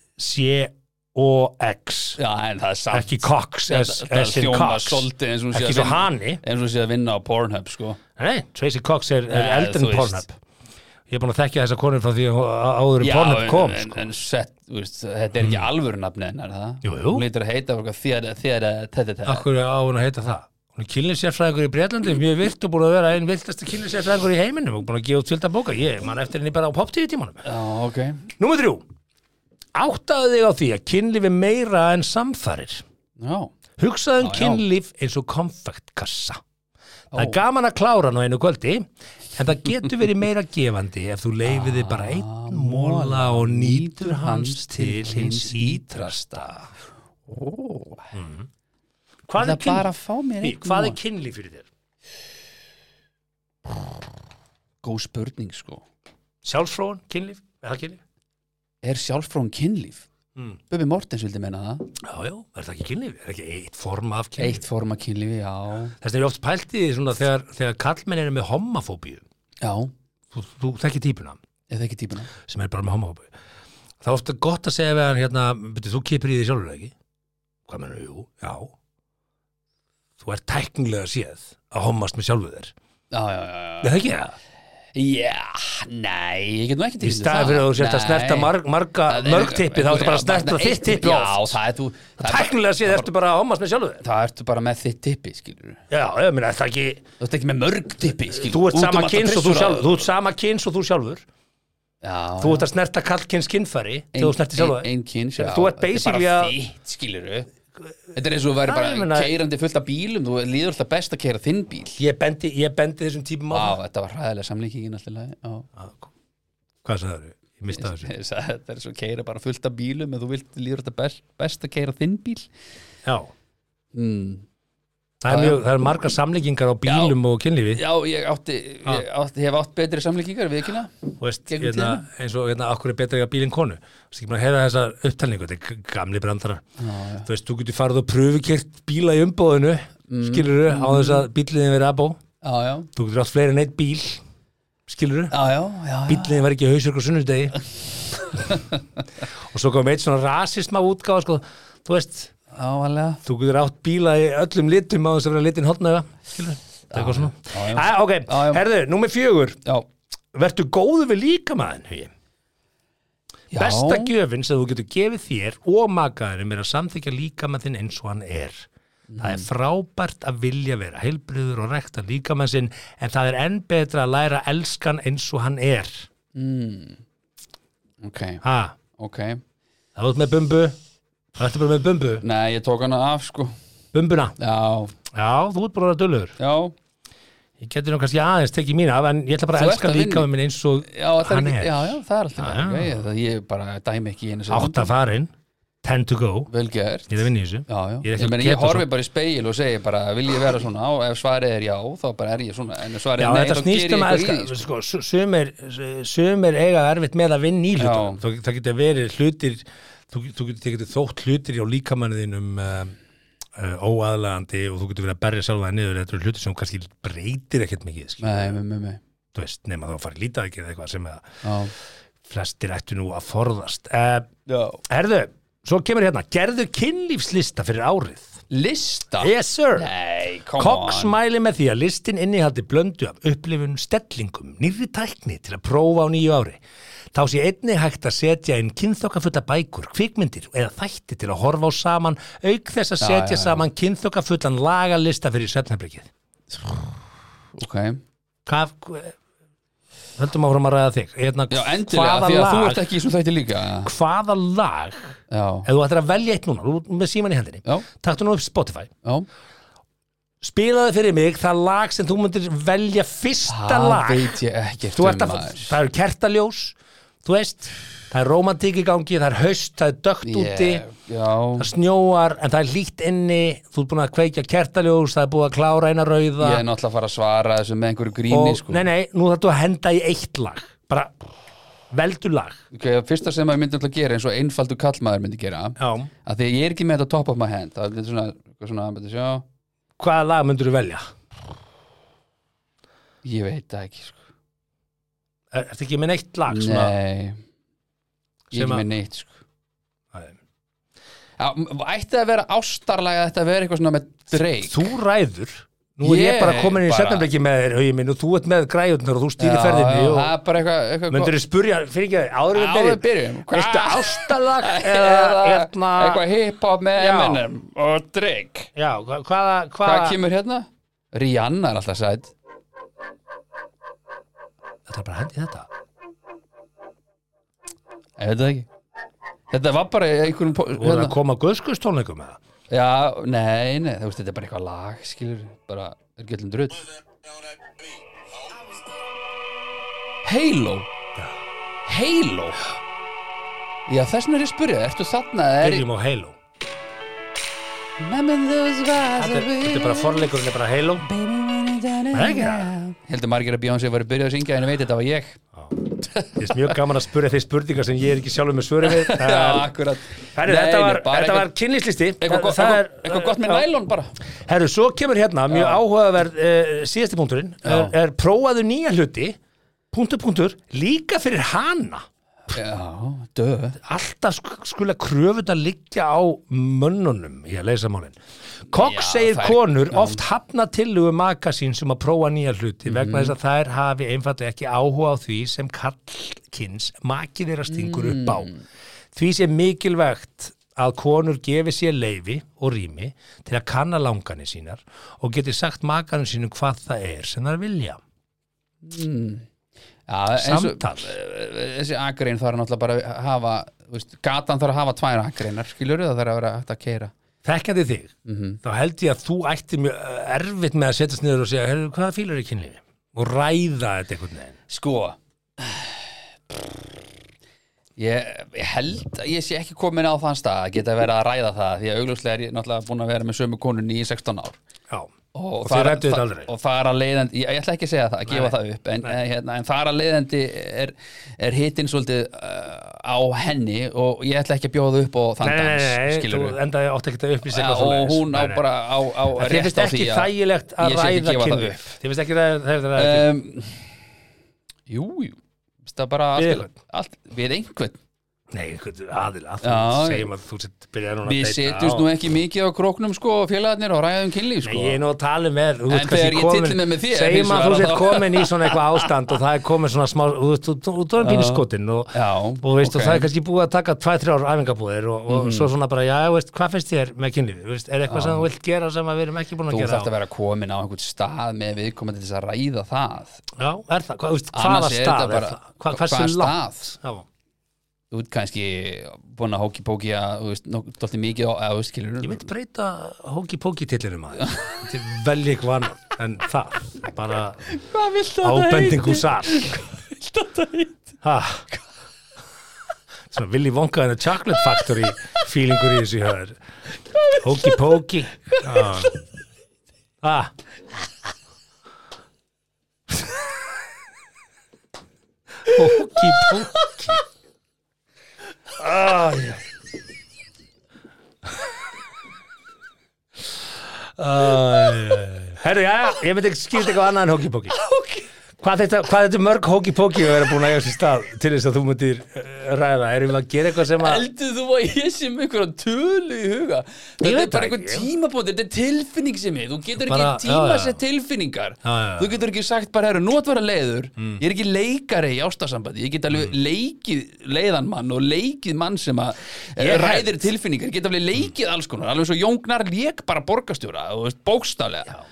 C-O-X,
Já, en það er samt
ekki Cox, S-
Það er
S-in
hljóma
Cox.
svolítið eins og hún sé
Ekki
að
svo
vinna-
hani.
eins og hún sé að vinna á Pornhub, sko
Nei, Tracy Cox er, er
Ja,
eldri
þú
en
veist.
Pornhub. Ég er búin að þekkja þessa konur frá því að á- áður en
Já,
Pornhub
en-
kom,
en,
sko. Hmm.
en set, þú veist, þetta er ekki alvöru nafni hennar, er það
Jú, jú. Ah.
Hún lítur að heita okkur þér, þér, þetta, þetta
Akkur á hún að heita það? Hún er kynlisérfræðingur í Breitlandi, mjög virt og búin að vera einn viltasta kynlisérfræðingur í heiminum og búin að gefa út fjölda bóka. Ég man eftir henni bara á poptíðu tímanum.
Já, ok
Númer þrjú. Áttaðu þig á því að kynlífi meira en samfarir.
Já,
Hugsaðu um
Já, já.
kynlíf eins og konfektkassa. Það er gaman að klára nú einu kvöldi, en það getur verið *laughs* meira gefandi ef þú leifir þig bara einn móla Ah, og nýtur hans til hins ítrasta. Mm. Hvað,
það
er
er bara
kynlíf?
að fá mér
Í,
einn
hvað er
mola.
kynlíf fyrir þér?
Góð spurning, sko
Sjálfsfróun, kynlíf? Er það kynlíf?
Er sjálfsfrón kynlíf?
Mm.
Bubbi Mortens vildi meina það
Já, já, er það ekki kynlíf? Er ekki eitt form af kynlíf?
Eitt form af kynlífi, já
Þess vegna er ég oft pælt í því svona þegar, þegar kallmenn eru með homofóbíu.
Já,
Þú, þú þekkir típuna
eða ekki típuna
sem er bara með homofóbíu. Það er ofta gott að segja við hann hérna, beti, þú kipir í því sjálfur ekki? Hvað mennur, jú, já. Þú ert tæknilega séð að homast með sjálfu þér.
Já, já, já,
Nei, það ekki það.
já Já, nei, ég get nú ekki
Í staði fyrir að þú sért að snerta marg, marga, mörg tippi, þá ertu bara að snerta þitt tippi
Já,
oft.
það er þú það er bara-
Tæknilega séð ertu bara að homast með sjálfu þér.
Það ertu bara með þitt tippi, skilur
Já, ég meina, það ekki...
Þú ert ekki með mörg tippi, um skilur
Þú ert sama kyns og þú sjálfur Þú ert sama kyns og þú sjálfur Þú ert að snerta kallkyns kynfæri þegar þú snertir sjálfur
Einn kynns, já
Þú ert
Þetta er
basically
bara
að-
þitt, skilur Þetta er eins og þú væri
Já, ég
bara
meina-
keirandi fullt af bílum Þú líður alltaf best að keira þinn bíl
Ég bendi, ég bendi þessum típum á
Vá,
það
þetta var hræðilega samlíkingin alltaf lagi
Hvað sagður þau? Ég mista þessu
Þetta er svo keira bara fullt af bílum en þú vilt líður alltaf best, best að keira þinn bíl
Já,
mm.
Hmm. það er, mjög, það er margar samlíkingar á bílum og kynlífi
Já, ég átti, ég átti hef átt betri samlíkingar við kynna
Þú veist,
Gegnum
hérna, eins og hérna, akkur er betra að eiga bílinn konu Þessi ekki maður að heyra þessa upptalningu Þetta er g- gamli brandara Þú veist, þú getur farið og pröfukert bíla í umbóðinu mm. Skilurðu, á þess að bíliðin verið abó
Já, já,
Þú getur átt fleiri en eitt bíl Skilurðu
já, já, já, já.
bíllinn var ekki hausur og sunnudegi
*laughs*
og svo kom eitt svona rasisma útgáfa sko, þú veist,
já alveg
þú getur átt bíla í öllum litum á þess að vera litin hotnaða skilur, það er eitthvað
já, já.
svona Æ, ok,
Já, já.
herðu, númer fjögur
Já,
verður góðu við líkamaðin hugi.
já
besta gjöfin sem þú getur gefið þér og makaðinum er að samþykja líkamaðin eins og hann er Það
Mm.
er frábært að vilja vera heilbriður og rekta líkamann sinn en það er enn betra að læra elskan eins og hann er.
Ok,
Ha,
ok
Það var með bumbu Það ertu bara með bumbu
Nei, ég tók hana af, sko
Bumbuna
Já,
Já, þú ert bara að vera dullur
já,
Ég geti nú kannski aðeins tekið mín af En ég ætla bara
Þú
að
ert
elska
að vinna.
líka með minn eins og
já, það er
Hann
ekki,
er.
já, já, það er alltaf
Já,
ah, okay. það, Ég bara dæmi ekki í einu sem
átta farin Ten to go
Vel gert
Ég er að vinna í þessu
Já, já.
Ég er
Ég,
ekki að
meni, ég
geta
horfi
svo-
bara í speil og segi bara vil ég vera svona og ef svarið er já þá bara er ég svona en ef svarið
Já,
er nei
þetta
þá
snýst
gerir
um
ég
að
eitthvað í
elska
því sko.
sko, su- sumir, sumir eiga erfitt með að vinna í hlutum
Já.
það, það getur verið hlutir þú, þú getur, þér getur þótt hlutir á líkamanniðinum uh, uh, óaðlegandi og þú getur verið að berja sjálfa það niður þetta eru hlutir sem kannski breytir ekkert mikið skilur.
Nei, nei, nei, nei
þú veist, nema þá að fara í lítaðgerð eða eitthvað sem að
Já,
flestir ættu nú að forðast uh,
já.
Herðu, svo kemur hérna Gerðu kynlífslista fyrir árið
Lista?
Yes sir
Nei, come
Cox
on
mæli með því að listin innihaldi blöndu af upplifun stellingum, nýrri tækni til að prófa á nýju ári. Þá sé einni hægt að setja inn kynþokkafulla bækur, kvikmyndir eða þætti til að horfa á saman, auk þess að
Já,
setja
já, já.
saman kynþokkafullan lagalista fyrir svefnabrikið.
Ok
Hvað, hva- höldum áfram að ræða þig. Hérna,
Já, endilega, því að þú ert
lag,
ekki í svona þætti líka
hvaða lag,
Já,
ef þú ættir að velja eitt núna, þú ert með síman í hendinni,
já,
taktu nú upp Spotify,
já
spilaði fyrir mig það lag sem þú myndir velja fyrsta
Það
lag
veit ég ekkert
þú
um
ert að,
maður
það eru kertaljós þú veist, það er romantík í gangi það er haust, það er dögt úti
Ég- Já,
það snjóar, en það er líkt inni þú ert búin að kveikja kertaljós það er búin að klára eina rauða
ég er náttúrulega að fara að svara þessu með einhverju gríni
og,
sko
nei, nei, nú þarf þú að henda í eitt lag bara, veldu lag
Ok, fyrsta sem maður myndi alltaf gera eins og einfaldur kallmaður myndi gera
Já.
að því að ég er ekki með þetta top of my hand það er svona, svona, svona sjá,
hvaða lag myndur þú velja?
ég veit það ekki sko.
Er, ertu ekki með neitt lag? svona?
nei,
Sem
ég er ekki
að-
með neitt sko.
Nei.
Já, m- ætti það að vera ástarlaga þetta að vera eitthvað svona með dreik
Þú ræður Nú er ég,
Ég
bara komin inn í
bara-
setnafleiki með þér Hauji minn og þú ert með græjurnar og þú stýri ferðinni
það
og
er bara eitthvað, eitthvað
myndur þú spurja fyrir ekki að áður við
Áður
byrjum
við byrjum, hvað-
Viltu *laughs* ástalag Ah. eða
eða
hérna
eitthvað hip-hop með
Já.
M&M og dreik
Já, hva- hvaða
hvað
hvaða
kemur hérna? Rihanna er alltaf sætt
Þetta er bara að hendi þetta
ég veit það ekki þetta var bara í einhverjum po-
Þú voru
hérna.
að koma guðskustónleikum með það
Já, nei, nei, þú veist, þetta er bara eitthvað lag, skilur, bara, er ekki öllum drull. Halo. Halo. Já, þess vegna er ég að spyrja, ertu þarna, eða er ég...
Byrjum á Halo
Remember those guys
Þetta þetta er bara forleikurinn er bara Halo
Það
er ekki það?
Heldur margir að Beyonce var að byrja að syngja, en ég veit þetta var ég.
Þetta er mjög gaman að spurja þeir spurningar sem ég er ekki sjálfur með svöri
*laughs*
við Það
Já,
er-
akkurat.
Herru,
Nei,
þetta
nei,
var,
bara
þetta var
eitthvað-
kynlýslisti
Eitthvað gott- eitthvað- eitthvað gott með nælon bara
Herru, svo kemur hérna mjög áhugaverð uh, síðasti punkturinn er, er prófaðu nýja hluti punktur, punktur, líka fyrir hana
Já, döð
alltaf sk- skula kröfut að liggja á mönnunum í að leysa málin Kokk
Já,
segir
það er-
konur oft hafna tillugu maka sín sem að prófa nýja hluti
Mhm.
vegna þess að þær hafi einfallega ekki áhuga á því sem kallkins maki þeirra stingur upp á
Mm.
því sé mikilvægt að konur gefi sér leifi og rými til að kanna langanir sínar og geti sagt makanum sínum hvað það er sem þær vilja
Já, eins og-
Samtal.
þessi akrein þarf náttúrulega bara að hafa þú veist, gatan þarf að hafa tvær akreinar skilur það þarf að vera hægt að keira
Þekkjandi þig,
Mhm.
þá held ég að þú ætti mjög eh, erfitt með að setjast niður og segja, heyrðu, hvaða fílar í kynlífi? Og ræða þetta einhvern veginn.
sko ég, ég held að ég sé ekki komin á þann stað að geta verið að ræða það því að augljóslega er ég náttúrulega búin að vera með sömu konunni í 16 ár
Já.
og,
Og
þar-
þið rædduð þetta
þa-
aldrei?
og það er að leiðandi, ég, ég ætla ekki að segja það að gefa
Nei.
það upp en, en, hérna, en það er að leiðandi er, er hittin svolítið uh, á henni og ég ætla ekki að bjóða upp og þann
Nei, nei,
dans
nei, nei,
skilurðu.
þú endaði átt ekkert að upplýsa
Já, og hún á bara á, á
Þið finnst ekki þægilegt að
ég sé ekki
ræða
gefa það
kynlíf. Þið finnst ekki þægilegt að ræða kynlíf.
um, Jú, jú Veist Það bara
Við
allt,
einhvern.
allt, Við einhvern
Nei, einhvern aðila, þú
Já,
segjum að þú sett byrjaði núna að
Við
deyta,
setjumst
já.
nú ekki mikið á króknum sko og félagarnir og ræðum kynlíf
Nei,
sko
Ég er nú að tala með, þú
En þegar ég tylli mér með þér,
segjum að
hins
þú
vegar,
sett
þá-
komin í svona eitthvað ástand og það er komin svona smá, þú veist, þú- þú þú- þú er pínskotinn og
Já,
og, veist,
ok. Mhm.
og það er kannski búið að taka 2-3 ár æfingabúðir og, og svo svona bara, já, veist, hvað finnst þér með kynlífi, veist, er eitthvað sem þú vilt gera sem að við erum ekki búin að
Þú
gera
þarft að vera komin á einhvern stað með viðkomandi til þess að ræða það
já, er það, hvað, veist,
Annars
hvaða
er
stað
þetta
er
bara-
það, hvað, hversu
hvaða
langt
stað?
já,
Þú ert kannski búin að hóki-póki að, þú veist, dólti mikið á, að, þú veist, skilur
ég myndi breyta hóki-póki tillinum að til velja eitthvað annan en það, bara
Hvað viltu
ábendingu sar ha svona Willy Wonka and the Chocolate Factory feelingur í þessu höður hóki-póki Ah.
Ah.
ha Hóki póki Ah, Ah, Herru, já, já, ég myndi ekki skýrt eitthvað annað en hóki
*laughs*
póki Hvað þetta, hvað þetta er mörg hóki póki að vera búin að eiga sér stað til þess að þú myndir eh, ræða Erum við að gera eitthvað sem að
Heldur þú að ég sé með einhverja tölu í huga?
veit
Þetta er bara
það
einhver
ekki.
tímabóti, þetta er tilfinning sem ég Þú getur
Bara-
ekki tímasett
já,
tilfinningar
Já, já, Mm. já.
Þú getur ekki sagt bara, herru, nú að vera leiður Ég er ekki leikari í ástasambandi Ég get alveg
Mm.
leikið leiðan mann og leikið mann sem að eh,
Ég Mm.
ræðir tilfinningar Ég get alveg leikið alls konar Alveg svo Jóngnar leik bara borgarstjóra, þú veist, bókstálega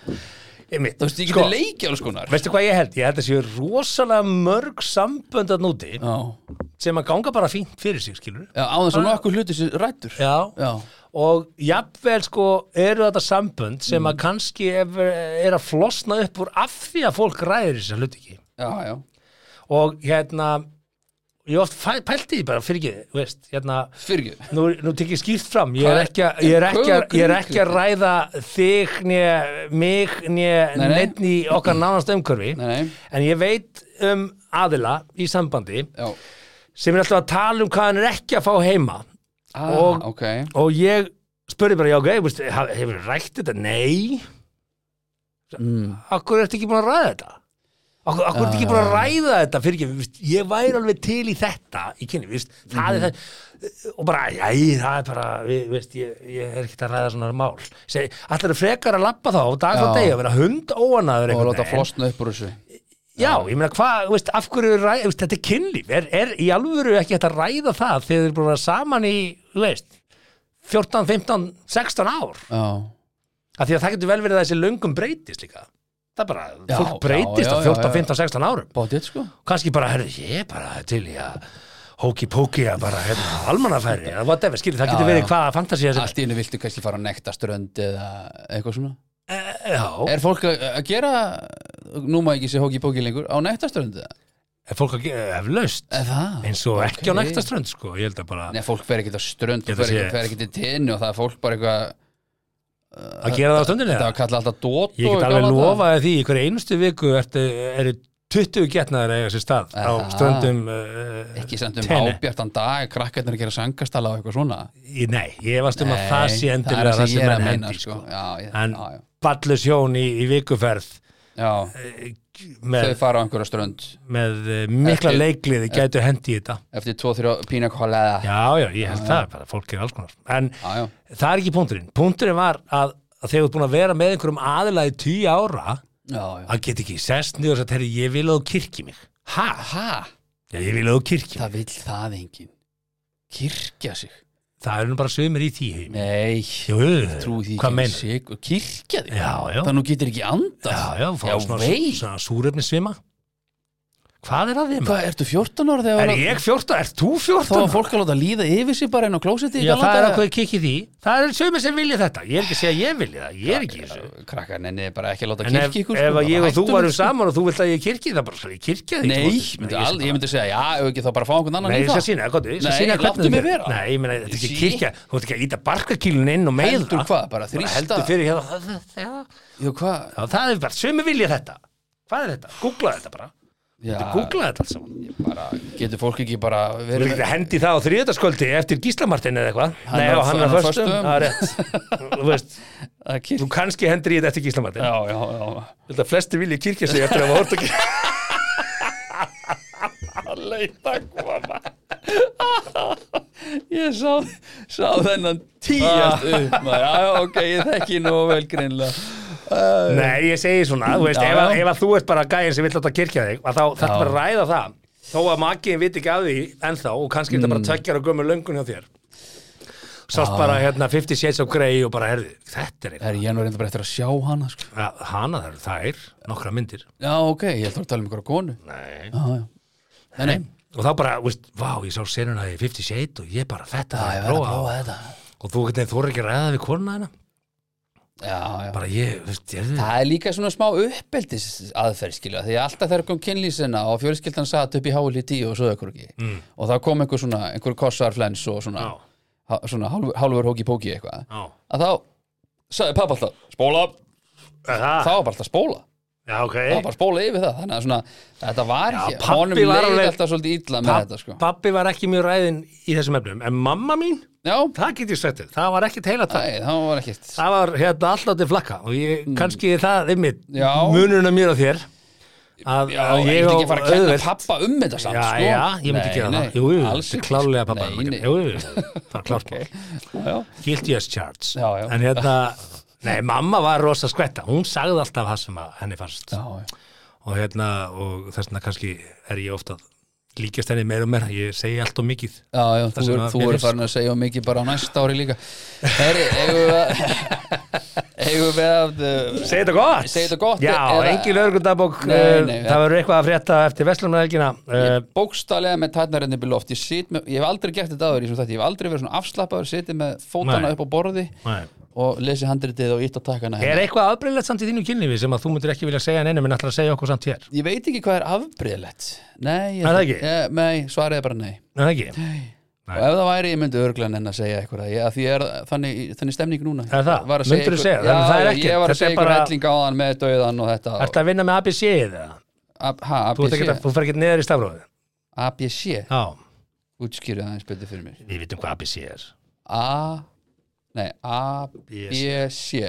Einmitt.
Þú veist, ég get
Sko,
leikið alls konar
Veistu hvað ég held? Ég held að séu rosalega mörg sambönd að núti
Já,
sem að ganga bara fínt fyrir sig, skilur
Já, á þess að nokkuð hluti sér rættur
Ah. Já.
Já.
Og jafnvel sko eru þetta sambönd sem
Mm.
að kannski er, er að flosna upp úr af því að fólk ræðir þessar hluti ekki.
Já, já,
Og hérna, ég oft fæ- pælti því bara fyrir ekki, þú veist, hérna,
fyrir ekki
nú, nú tek ég skýrt fram, ég er
Hvað-
ekki, að- ég er ekki, að- ég er ekki að
Hvað
ræða þig, né, mig, né,
Nei, nei.
neitt í
*clears throat*
okkar nánast umhverfi,
Nei, nei,
en ég veit um aðila í sambandi
já
sem er alltaf að tala um hvað hann er ekki að fá heima
ah,
Og-
ok
og ég spurði bara, já, ok, veist, haf- hefur rækt þetta? Nei
mm.
Akkur ertu ekki búin að ræða þetta? Akkur, akkur ertu ekki búin
Ah.
að ræða þetta fyrir ekki, viðst, ég væri alveg til í þetta í kynni, viðst, það
Mhm.
er það og bara, jæ, það er bara við, viðst, ég, ég er ekkert að ræða svona mál Seg, allir er frekar að labba þá dag frá
Já.
degi að vera hund óanaður
og láta flosna upp úr þessu
já, ég meina, hvað, veist, af hverju er ræða, viðst, þetta er kynlíf, er, er í alvöru ekki hægt að ræða það þegar þeir eru búin að vera saman í, þú veist 14, 15, 16 ár
já,
af því að það getur vel verið að þessi löngum breytist líka það er bara,
Já,
fólk
já,
breytist
já,
á
já,
14,
já.
15, 16 árum
bótið sko
kannski bara, herrðu, ég er bara til í að hóki póki að bara, hérna, almannafæri eða whatever, skilur, það
Já,
getur verið
já.
hvaða fantasía sem,
allt í einu viltu kannski fara að nekta strönd eða eitthvað svona
já,
er fólk að að gera nú maður ekki sé hóki bóki lengur á nekta strönd eða
er fólk að gefa eflaust
það
eins og ekki á
ok.
nægta strönd, sko, ég held að bara
Nei, fólk fer ekkert á strönd,
Ég held að
fólk fer
sé-
ekkert- fer ekkert í tinnu og það er fólk bara eitthvað
að gera það á stundinni
Þetta var kallað alltaf dót
ég get alveg lofaði því, í hverju einustu viku ertu, eru 20 getnaður að eiga sér stað á
Aha.
ströndum uh,
Ekki samt um
Tenni.
ábjartan dag, krakkarnir að gera sangastala og eitthvað svona
í- nei, ég varst um að
Nei,
það sé endilega það
ég
sem
er
menn
að meina,
hendi, sko
Já, ég,
en
já, já.
ballus hjón í, í vikuferð
já,
eh,
þau
með,
fara á einhverja strönd
með eh, mikla
Eftir-
leikliði gætu hendi í þetta
eftir tvo, þrjá pína kolega já.
já, já, ég held það, bara fólk er alls konar en
Já,
það er ekki punkturinn, punkturinn var að, að þegar þú ert búin að vera með einhverjum aðila í tíu ára,
já, já.
það get ekki sest niður og sagt, herri, ég vil að þú kirkji mig ha,
Ha,
já, ég vil að þú kirkji mig
það vill það engin Kirkja sig
það er nú bara sömur í því heim
Nei,
Jú,
trúi því
hvað
ekki
meina?
sig, Kirkja þig
Já, já.
Það nú getur ekki andað
Já, já, fá
Já,
svona,
vei.
svona súrefni svima Hvað er að þið maður?
Hvað, ertu 14 ára þegar
Er ég 14? Er þú
Þá var
14?
fólk að láta líða yfir sig bara inn á klósetti í
Já,
gamla
það er
daga.
ákveðið kikið því Það er sömur sem vilja þetta Ég er ekki að segja að ég vilja það Ég er ekki í þessu
Krakkar, nenni bara ekki að láta
En ef,
kirkja ykkur sko.
ef að ég og þú
hættum
varum
þessu.
saman og þú vilt að ég kirkja það bara ég kirkja því
Nei, myndi all, ég myndi segja, já, ef ekki þá bara fá einhvern annan
Nei,
í
ég skal
það
sína, það er gott, ég skal
Nei,
sína
láttu mig vera.
Nei, ég meina, þetta er ekki
Sí.
kirkja Þú ert ekki að íta barkakílun inn og meiða
Heldur hvað, bara þrýsta.
Heldur fyrir hér það, það, það,
Jú, hvað?
það, það er bara, sömu vilja þetta Hvað er þetta? Googla þetta bara
Já,
Googla þetta alls saman
ég bara, getur fólk ekki bara
Þú
verið
ert ekki að hendi það á þriðutaskvöldi eftir Gíslamartin eða eitthvað
Hann
Nei,
er á-
og hann er
hann er á
föstum,
föstum.
það er rétt Þú veist,
að
þú
kirkja?
kannski hendir í þetta eftir Gíslamartin
Já, já, já.
Ég held að flesti vilja kirkja sig eftir að hafa hort að kirkja
Að leita koma. ég sá, sá þennan tíast upp, maður. Já, já, ok, ég þekki nú vel greinlega.
Nei, ég segi svona, þú veist,
Já,
ef, að,
já.
ef að þú ert bara gæðin sem vill láta kirkja þig, að þá þetta bara að ræða það þó að makiðin viti ekki af því ennþá og kannski er þetta
Mm.
bara tveggjara gömur löngun hjá þér sást bara hérna 50 Shades of Grey og bara herði, þetta er eitthvað
Er ég nú reynda bara eftir að sjá hana, sko.
Ja, hana þar, það er nokkra myndir
Já, ok, ég heldur að tala um ykkur á konu.
Nei.
Já, Ah, já. Nei, nei.
og þá bara, þú veist, vá, ég sá senuna í 50 Shades og ég bara, þetta
Ah, Já,
er
ég
að
verð að
prófa
prófa
á.
þetta.
og þú getur þú er ekki að ræða við konuna hérna
Já, já.
bara ég, þú veist, ég
Það er líka svona smá uppeldis aðferð skilja, því að alltaf þegar kom kynlýsina og fjölskyldan satt upp í háli tíu og svo ekkur ekki mm. og það kom einhver svona, einhver kossarflens og svona,
Já.
ha, svona hálfur, hálfur hóki póki eitthvað,
Já,
að þá sagði pappa alltaf, spóla,
það,
það var bara alltaf spóla
já, ok
það var bara spóla yfir það, þannig að svona þetta var
Já,
ekki,
pabbi
honum leið
var alveg-
alltaf svolítið illa með
Papp,
þetta sko
pappi var ekki mjög ræðin í þessum efnum en mamma mín,
Já,
það get ég sagt þér það var ekkert heila það
nei, það var ekkert
það var hérna alltaf til flakka og ég, kannski það er mitt
Mm. Já.
munurinn að mér og þér að,
Já,
að
ég myndi ekki fara að kenna
auðvelt-
pappa um þetta samt,
já,
sko.
já, ég myndi
Nei,
gera
nei,
það jú, jú,
alls
þetta er
ekki,
klárlega
sko.
pappa
Nei,
nei,
nei.
jú, jú,
*laughs*
það er klart okay.
Já,
guilty as charged
Já, já.
en hérna, nei, mamma var rosa skvetta hún sagði alltaf það sem að henni fannst
já, já.
og hérna, og þess vegna kannski er ég ofta líkjast henni meir og meir ég segi allt og mikið
Já, já,
Það
þú,
sem
er,
að
þú
mér
er
finnst.
farin að segja of mikið bara á næsta ári líka Heri, eigum við að *laughs* eigum við að uh,
Segðu þetta gott
Segðu þetta gott,
Já,
eða-
engin örgundabók
Nei, nei,
Það verður eitthvað að frétta eftir Vestlumnaðelgina uh,
bókstallega með tætnarenni upp í loft ég, sit með, ég hef aldrei gert þetta aður í svona þetta ég hef aldrei verið svona afslappaður, setið með fótana
Nei.
upp á borði og lesið handritið og ítt á takkana
Eh, Er
hérna.
eitthvað afbreyðlegt samt í þínu kynlífi sem að þú myndir ekki vilja segja neinum en ætlar að segja okkur samt hér
ég veit ekki hvað er afbreyðlegt nei, ég,
Er það ekki?
Ég, nei, svarið er bara nei
Er það ekki? Nei.
og ef það væri, ég myndi örglan en að segja eitthvað ég, að því er þannig, þannig stemning núna
Er það?
Var að segja
Myndirðu
ykkur-
segja?
já,
Þannig það er
já,
ekkert.
ég var
Þetta
að segja
er
ykkur
bara-
helling áðan með dauðan og þetta og-
Ertu að vinna með ABC eða?
A- ha,
Þú, ert
ABC
ekkert að- þú fer ekki neður í stafróðu
ABC
Já
útskýra aðeins betur fyrir mér
Við vitum hvað ABC er
A Nei, A, B, C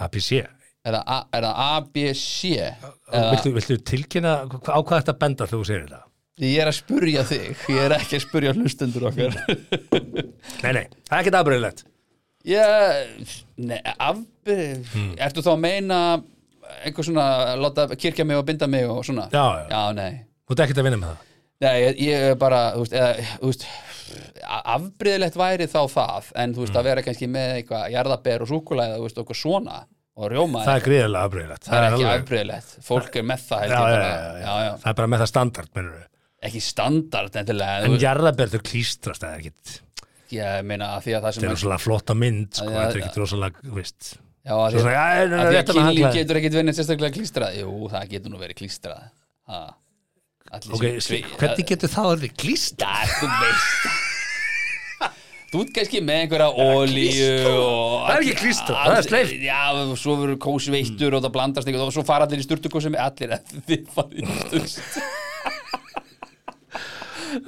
ABC
Er það A, er það A B, C Eða,
viltu, viltu tilkynna hva- á hvað þetta benda þegar þú segir þetta?
Ég er að spurja þig Ég er ekki að spurja hlustendur okkar
Nei, nei, það er ekkert afbreyðilegt
Já, nei, afbyrð
Hmm.
Ertu þá að meina einhver svona, láta kirkja mig og binda mig og svona?
Já, já.
nei
Þú ert ekkert að vinna með það
Nei, ég- ég er bara, þú veist, eða, þú veist a- afbrigðilegt væri þá það en þú veist,
Hmm.
að vera kannski með eitthvað jarðaber og súkulega, þú veist, okkur svona og rjóma,
Það er gríðarlega afbreyðilegt
það er ekki
alveg-
afbrigðilegt fólk er með það, held
já, já,
ég bara
já, já, Það er bara með það standard, minnur við
ekki standard endilega, en
En
þú veist,
jarðabær þau klístrast það er ekkert Þetta
ég meina að því að það sem
er
að,
rosalega flotta mynd, sko
Já, já,
Þetta er
já.
ekkert rosalega, þú veist
já, að
Svo
því
svona,
að,
já,
að, því að
þetta með
kynlíf
handklæði
getur ekkit verið sérstaklega klístrað, jú, það getur nú verið klístrað ha, allir
Ok,
sem-
hvernig getur það orðið klíst?
Það er þú veist Þú ert kannski með einhverja olíu og...
Það er ekki klístra, það er sleift.
Já, og svo verður kósi veittur og það blandast einhvern og svo fara allir í sturtukosum allir *laughs* að þið farið í sturt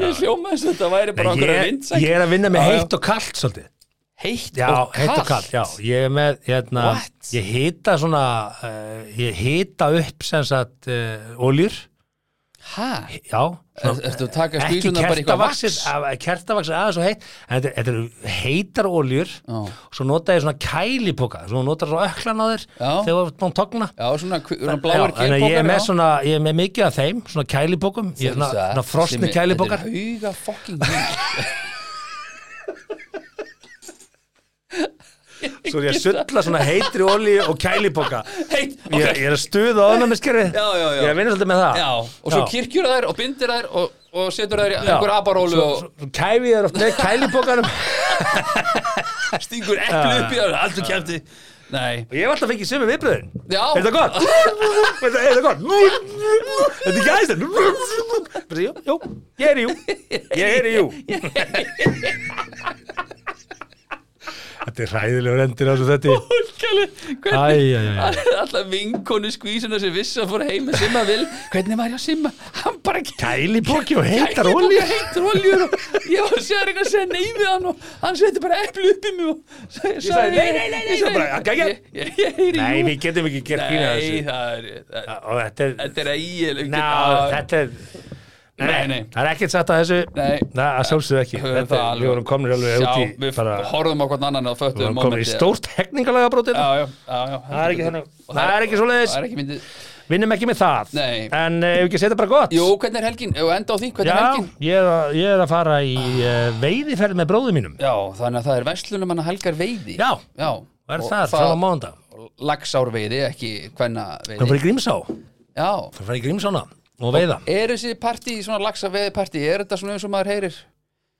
Ég hljóma þess að þetta væri bara
Ég,
einhverja
ég
vindsæk
er að vinna með
Já, já.
heitt og kalt svolítið
Heitt
Já,
og
heitt og kalt,
kalt
já Ég er með, hérna
What?
Ég hita svona, uh, ég hita upp sem sagt uh, oljur
Hæ?
Já
Er, ertu að taka skvísuna bara í eitthvað
kertavaxið,
vaks?
að- kertavaxið aðeins og heitt en þetta, þetta eru heitar oljur
Já.
svo nota ég svona kælipoka svo notar svo öklan á þér
Já.
þegar þú ert búin að togna
Já, svona, kv- svona
Já,
bláir
þannig að ég er með
kýrpokar
svona, ég er með mikið af þeim svona kælipokum, ég er svona, svona frosni kælipokar
Þetta er huga
*laughs*
fucking hýr
svo er ég að sulla svona heitri olju og kælipoka
Heitt,
ég,
ok
ég er að stuða ofnæmiskerfi
Já, já, já.
ég er að vinna svolítið með það
Já, og svo kirkjur þær og bindir þær og, og setur þær í einhver aparólu og
svo, svo kæfi ég er oft með kælipokanum
stingur eplu upp í þær Alltaf kæfti Nei,
og ég hef alltaf fengið sömu viðbröðin
já
Er þetta gott? *laughs* Er þetta- er þetta gott? Þetta er ekki aðeins þetta? Bara, Jú, jú, ég er í jú Ég er í jú Þetta er hræðilegur endir á svo þetta
Kjali,
Æ,
Hvernig,
æ, æ, æ.
alltaf vinkonu skvísuna sem vissi að fór heim með Simma vil Hvernig var ég að Simma? Hann bara
Kæli bóki og heitar
Kæli
olíu
bara Heitar oljur og ég var að segja reyna að segja nei við hann og hann setur bara eplu upp í mig og sagði,
sagði, nei, nei, nei, nei,
ég sagði,
bara, að gæja.
ég- Ég ég er í
Nei,
jú.
við getum ekki gert fína
Nei,
þessu
það er það-
Og þetta er,
Þetta er að ég
ná, þetta er
Nei, nei.
Það er ekkert satt að þessu
Nei.
Nei, að sjálfsögðu ekki
Höfum
Þetta,
það alveg.
Við vorum komnir alveg
Já,
út í
við
bara,
horfum á hvern annan og
Við
föttuðum
vorum komnir í stórt hérna. hekningalega
Já,
brotið
já, já, já
Það er ekki þannig
Og
Það er ekki svoleiðis
Það er ekki myndið
vinnum ekki með það
Nei.
en uh, ef ekki setja bara gott
Jú, hvernig er helgin? Ef við enda á því, hvernig
já,
er helgin?
ég er, að, ég er að fara í uh, veiðiferð með bróðum mínum
Já, þannig að það er verslunum hann helgar veiði
Já.
Já
og er
Og
það frá mánda
Laxár veiði, ekki hvenna
það
veiði
fyrir Grímsá,
Já
það fyrir Grímsána og veiða
Er þessi partí, svona laxar veiði partí, er þetta svona eins og maður heyrir?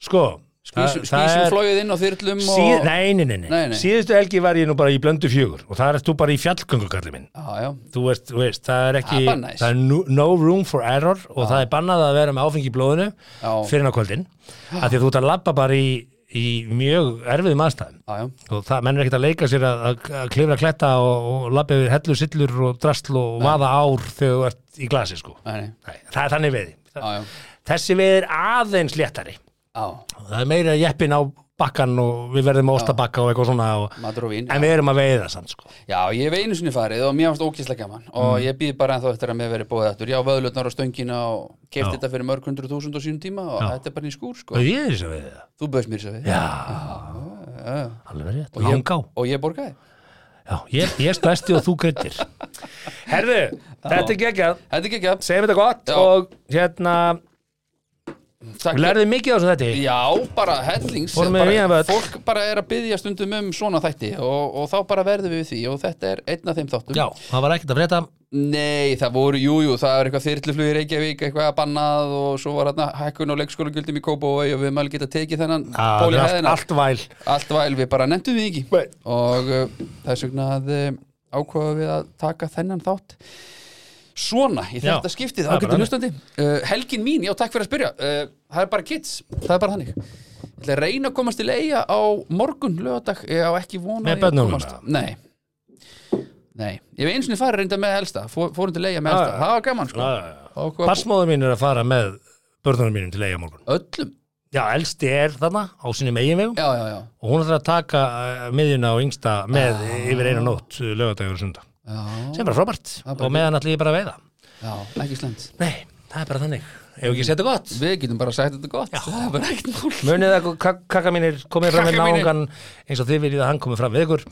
sko,
Skvísum, skvísum flóið inn á þyrlum og
síð, nei, nei, nei, nei.
Nei, nei.
síðustu helgi var ég nú bara í blöndu fjögur og það er þú bara í fjallgöngukalli minn
Já, já
þú veist, þú veist, það er ekki
Það er bara næs.
er no, no room for error og það er bannað að vera með áfengi í blóðinu
Já.
fyrir ná kvöldin, af því að þú ert að labba bara í, í mjög erfiðum aðstæðum
Já, já
og það mennir ekkert að leika sér að, að, að klifra kletta og, og labba yfir hellur, sillur og drastl og vaða ár þegar þú ert í glasi sko.
Nei, nei.
Nei, það er þannig veiði.
Já, já
Þessi veiði er aðeins léttari.
Já,
Það er meira jeppin á bakkan og við verðum á ostabakka og eitthvað svona og,
matur og vín
en við erum að veiða samt sko.
Já, ég hef einu sinni farið og mér fannst ókýrslega gaman og
Mm.
ég býð bara ennþá eftir að mér verið bóðið aftur. Já, vöðlutnar og stöngina og kefti
Já.
þetta fyrir mörg hundru þúsund og sínum tíma og þetta er bara í skúr, sko.
Og ég er þess að veiða.
Þú bauðst mér svo við.
Já,
Já, já.
alveg rétt.
ég-
Langá.
Og ég borgaði.
Já, ég, ég spæsti og þú greitir. Herðu, þetta er geggjað.
Þetta er ekki að...
Segjum þetta gott
Já.
og hérna,
Takk.
við lærðum mikið á þessu þetta.
Já, bara hellings.
Fórum við
bara,
víðan völl.
Fólk bara er að byggja stundum um svona þætti og, og þá bara verðum við við því og þetta er einn af þeim þáttum.
Já, það var ekkert að breyta.
Nei, það voru, jú, jú, það var eitthvað þyrluflug í Reykjavík, eitthvað bannað og svo var hérna hækkun og leikskólagjöldum í Kópavói og við maður geta tekið þennan
Ah,
ból í
allt,
hæðina.
allt væl
allt væl við bara nefndum því ekki
Nei.
og uh, þess vegna að uh, ákvaða við að taka þennan þátt svona í
Já.
þetta skiptið
Það er bara
ágættu hlustandi uh, helgin mín, já takk fyrir að spyrja uh, það er bara kids, það er bara þannig ég ætla að reyna að komast til eiga á morgun lögadag, ég á ekki vona
Með börnunum eða?
nei nei, ég hef eins og niður farið reynda með elsta fór, fórum til eiga með elsta,
já.
það var gaman sko
Ah, Passmóður
Ákvað-
mín er að fara með börnunum mínum til eiga morgun
öllum
já, elsti er þarna á sinni meginvegum
já, já, já,
og hún ætlar að taka uh, miðjuna og yngsta með yfir eina nótt uh, lögadagur og sunda
já,
sem er bara frábært
Það er bara
og meðan ætla ég bara að veiða
já, ekki slemt
nei, það er bara þannig ef ekki setja gott
Við getum bara sagt þetta gott Það er bara ekkert mál
munið að kak- kakka mínir komið fram með
Kakka mínir.
náungan eins og þið viljið að hann komið fram við ykkur